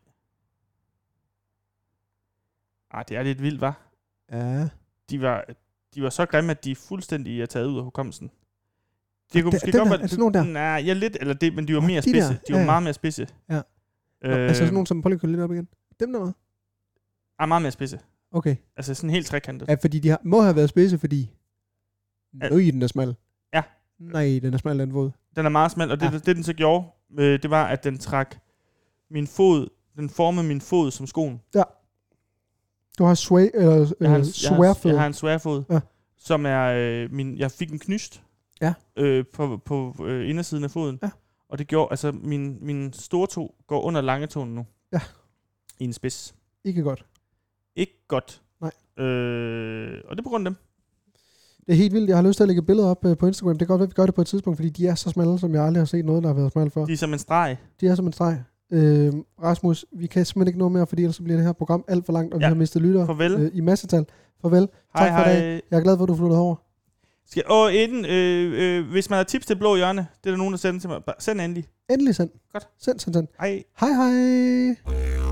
Speaker 1: Ah, det er lidt vildt, var.
Speaker 2: Ja.
Speaker 1: De var, de var så grimme, at de fuldstændig er taget ud af hukommelsen. Det kunne
Speaker 2: den-
Speaker 1: måske
Speaker 2: den
Speaker 1: godt
Speaker 2: der,
Speaker 1: være...
Speaker 2: altså sådan nogle der.
Speaker 1: Nej, ja, lidt, eller det, men de var mere
Speaker 2: de der,
Speaker 1: spidse. De var
Speaker 2: ja, ja.
Speaker 1: meget mere spidse.
Speaker 2: Ja. Nå,
Speaker 1: Øh,
Speaker 2: altså sådan nogle, som prøv lige at køre lidt op igen. Dem der var?
Speaker 1: ah, meget mere spidse.
Speaker 2: Okay.
Speaker 1: Altså sådan helt trekantet.
Speaker 2: Ja, fordi de har, må have været spidse, fordi...
Speaker 1: Ja.
Speaker 2: Nøj, den er smal.
Speaker 1: Ja.
Speaker 2: Nej, den er smal, den våd.
Speaker 1: Den er meget smal, og det,
Speaker 2: Ja.
Speaker 1: ja. det, det den så gjorde, øh, det var, at den trak min fod, den formede min fod som skoen.
Speaker 3: Du har sway, eller,
Speaker 1: Jeg har
Speaker 3: øh,
Speaker 1: en, jeg har,
Speaker 3: swærfed.
Speaker 1: jeg har en sværfod,
Speaker 3: Ja.
Speaker 1: ja. som er øh, min, jeg fik en knyst
Speaker 2: Ja.
Speaker 1: øh, på, på øh, indersiden af foden.
Speaker 2: Ja.
Speaker 1: Og det gjorde, altså min, min store to går under lange tåen nu.
Speaker 2: Ja.
Speaker 1: I en spids.
Speaker 2: Ikke godt.
Speaker 1: Ikke godt.
Speaker 2: Nej.
Speaker 1: Øh, og det er på grund af dem.
Speaker 2: Det er helt vildt. Jeg har lyst til at lægge billeder op øh, på Instagram. Det kan godt være, at vi gør det på et tidspunkt, fordi de er så smalle, som jeg aldrig har set noget, der har været smalt før.
Speaker 1: De er som en streg.
Speaker 2: De er som en streg. Øh, Rasmus, vi kan simpelthen ikke nå mere, fordi ellers så bliver det her program alt for langt, og ja. vi
Speaker 1: Ja.
Speaker 2: har mistet lyttere
Speaker 1: Farvel.
Speaker 2: øh, i massetal. Farvel.
Speaker 1: hej,
Speaker 2: tak for i
Speaker 1: hej.
Speaker 2: Jeg er glad for, at du flyttede over.
Speaker 1: Skal, og inden, øh, øh, hvis man har tips til Blå Hjørne, det er der nogen, der sender til mig. Bare Send endelig.
Speaker 2: Endelig send.
Speaker 1: Godt.
Speaker 2: Send, send, send.
Speaker 1: Hej.
Speaker 2: Hej, hej.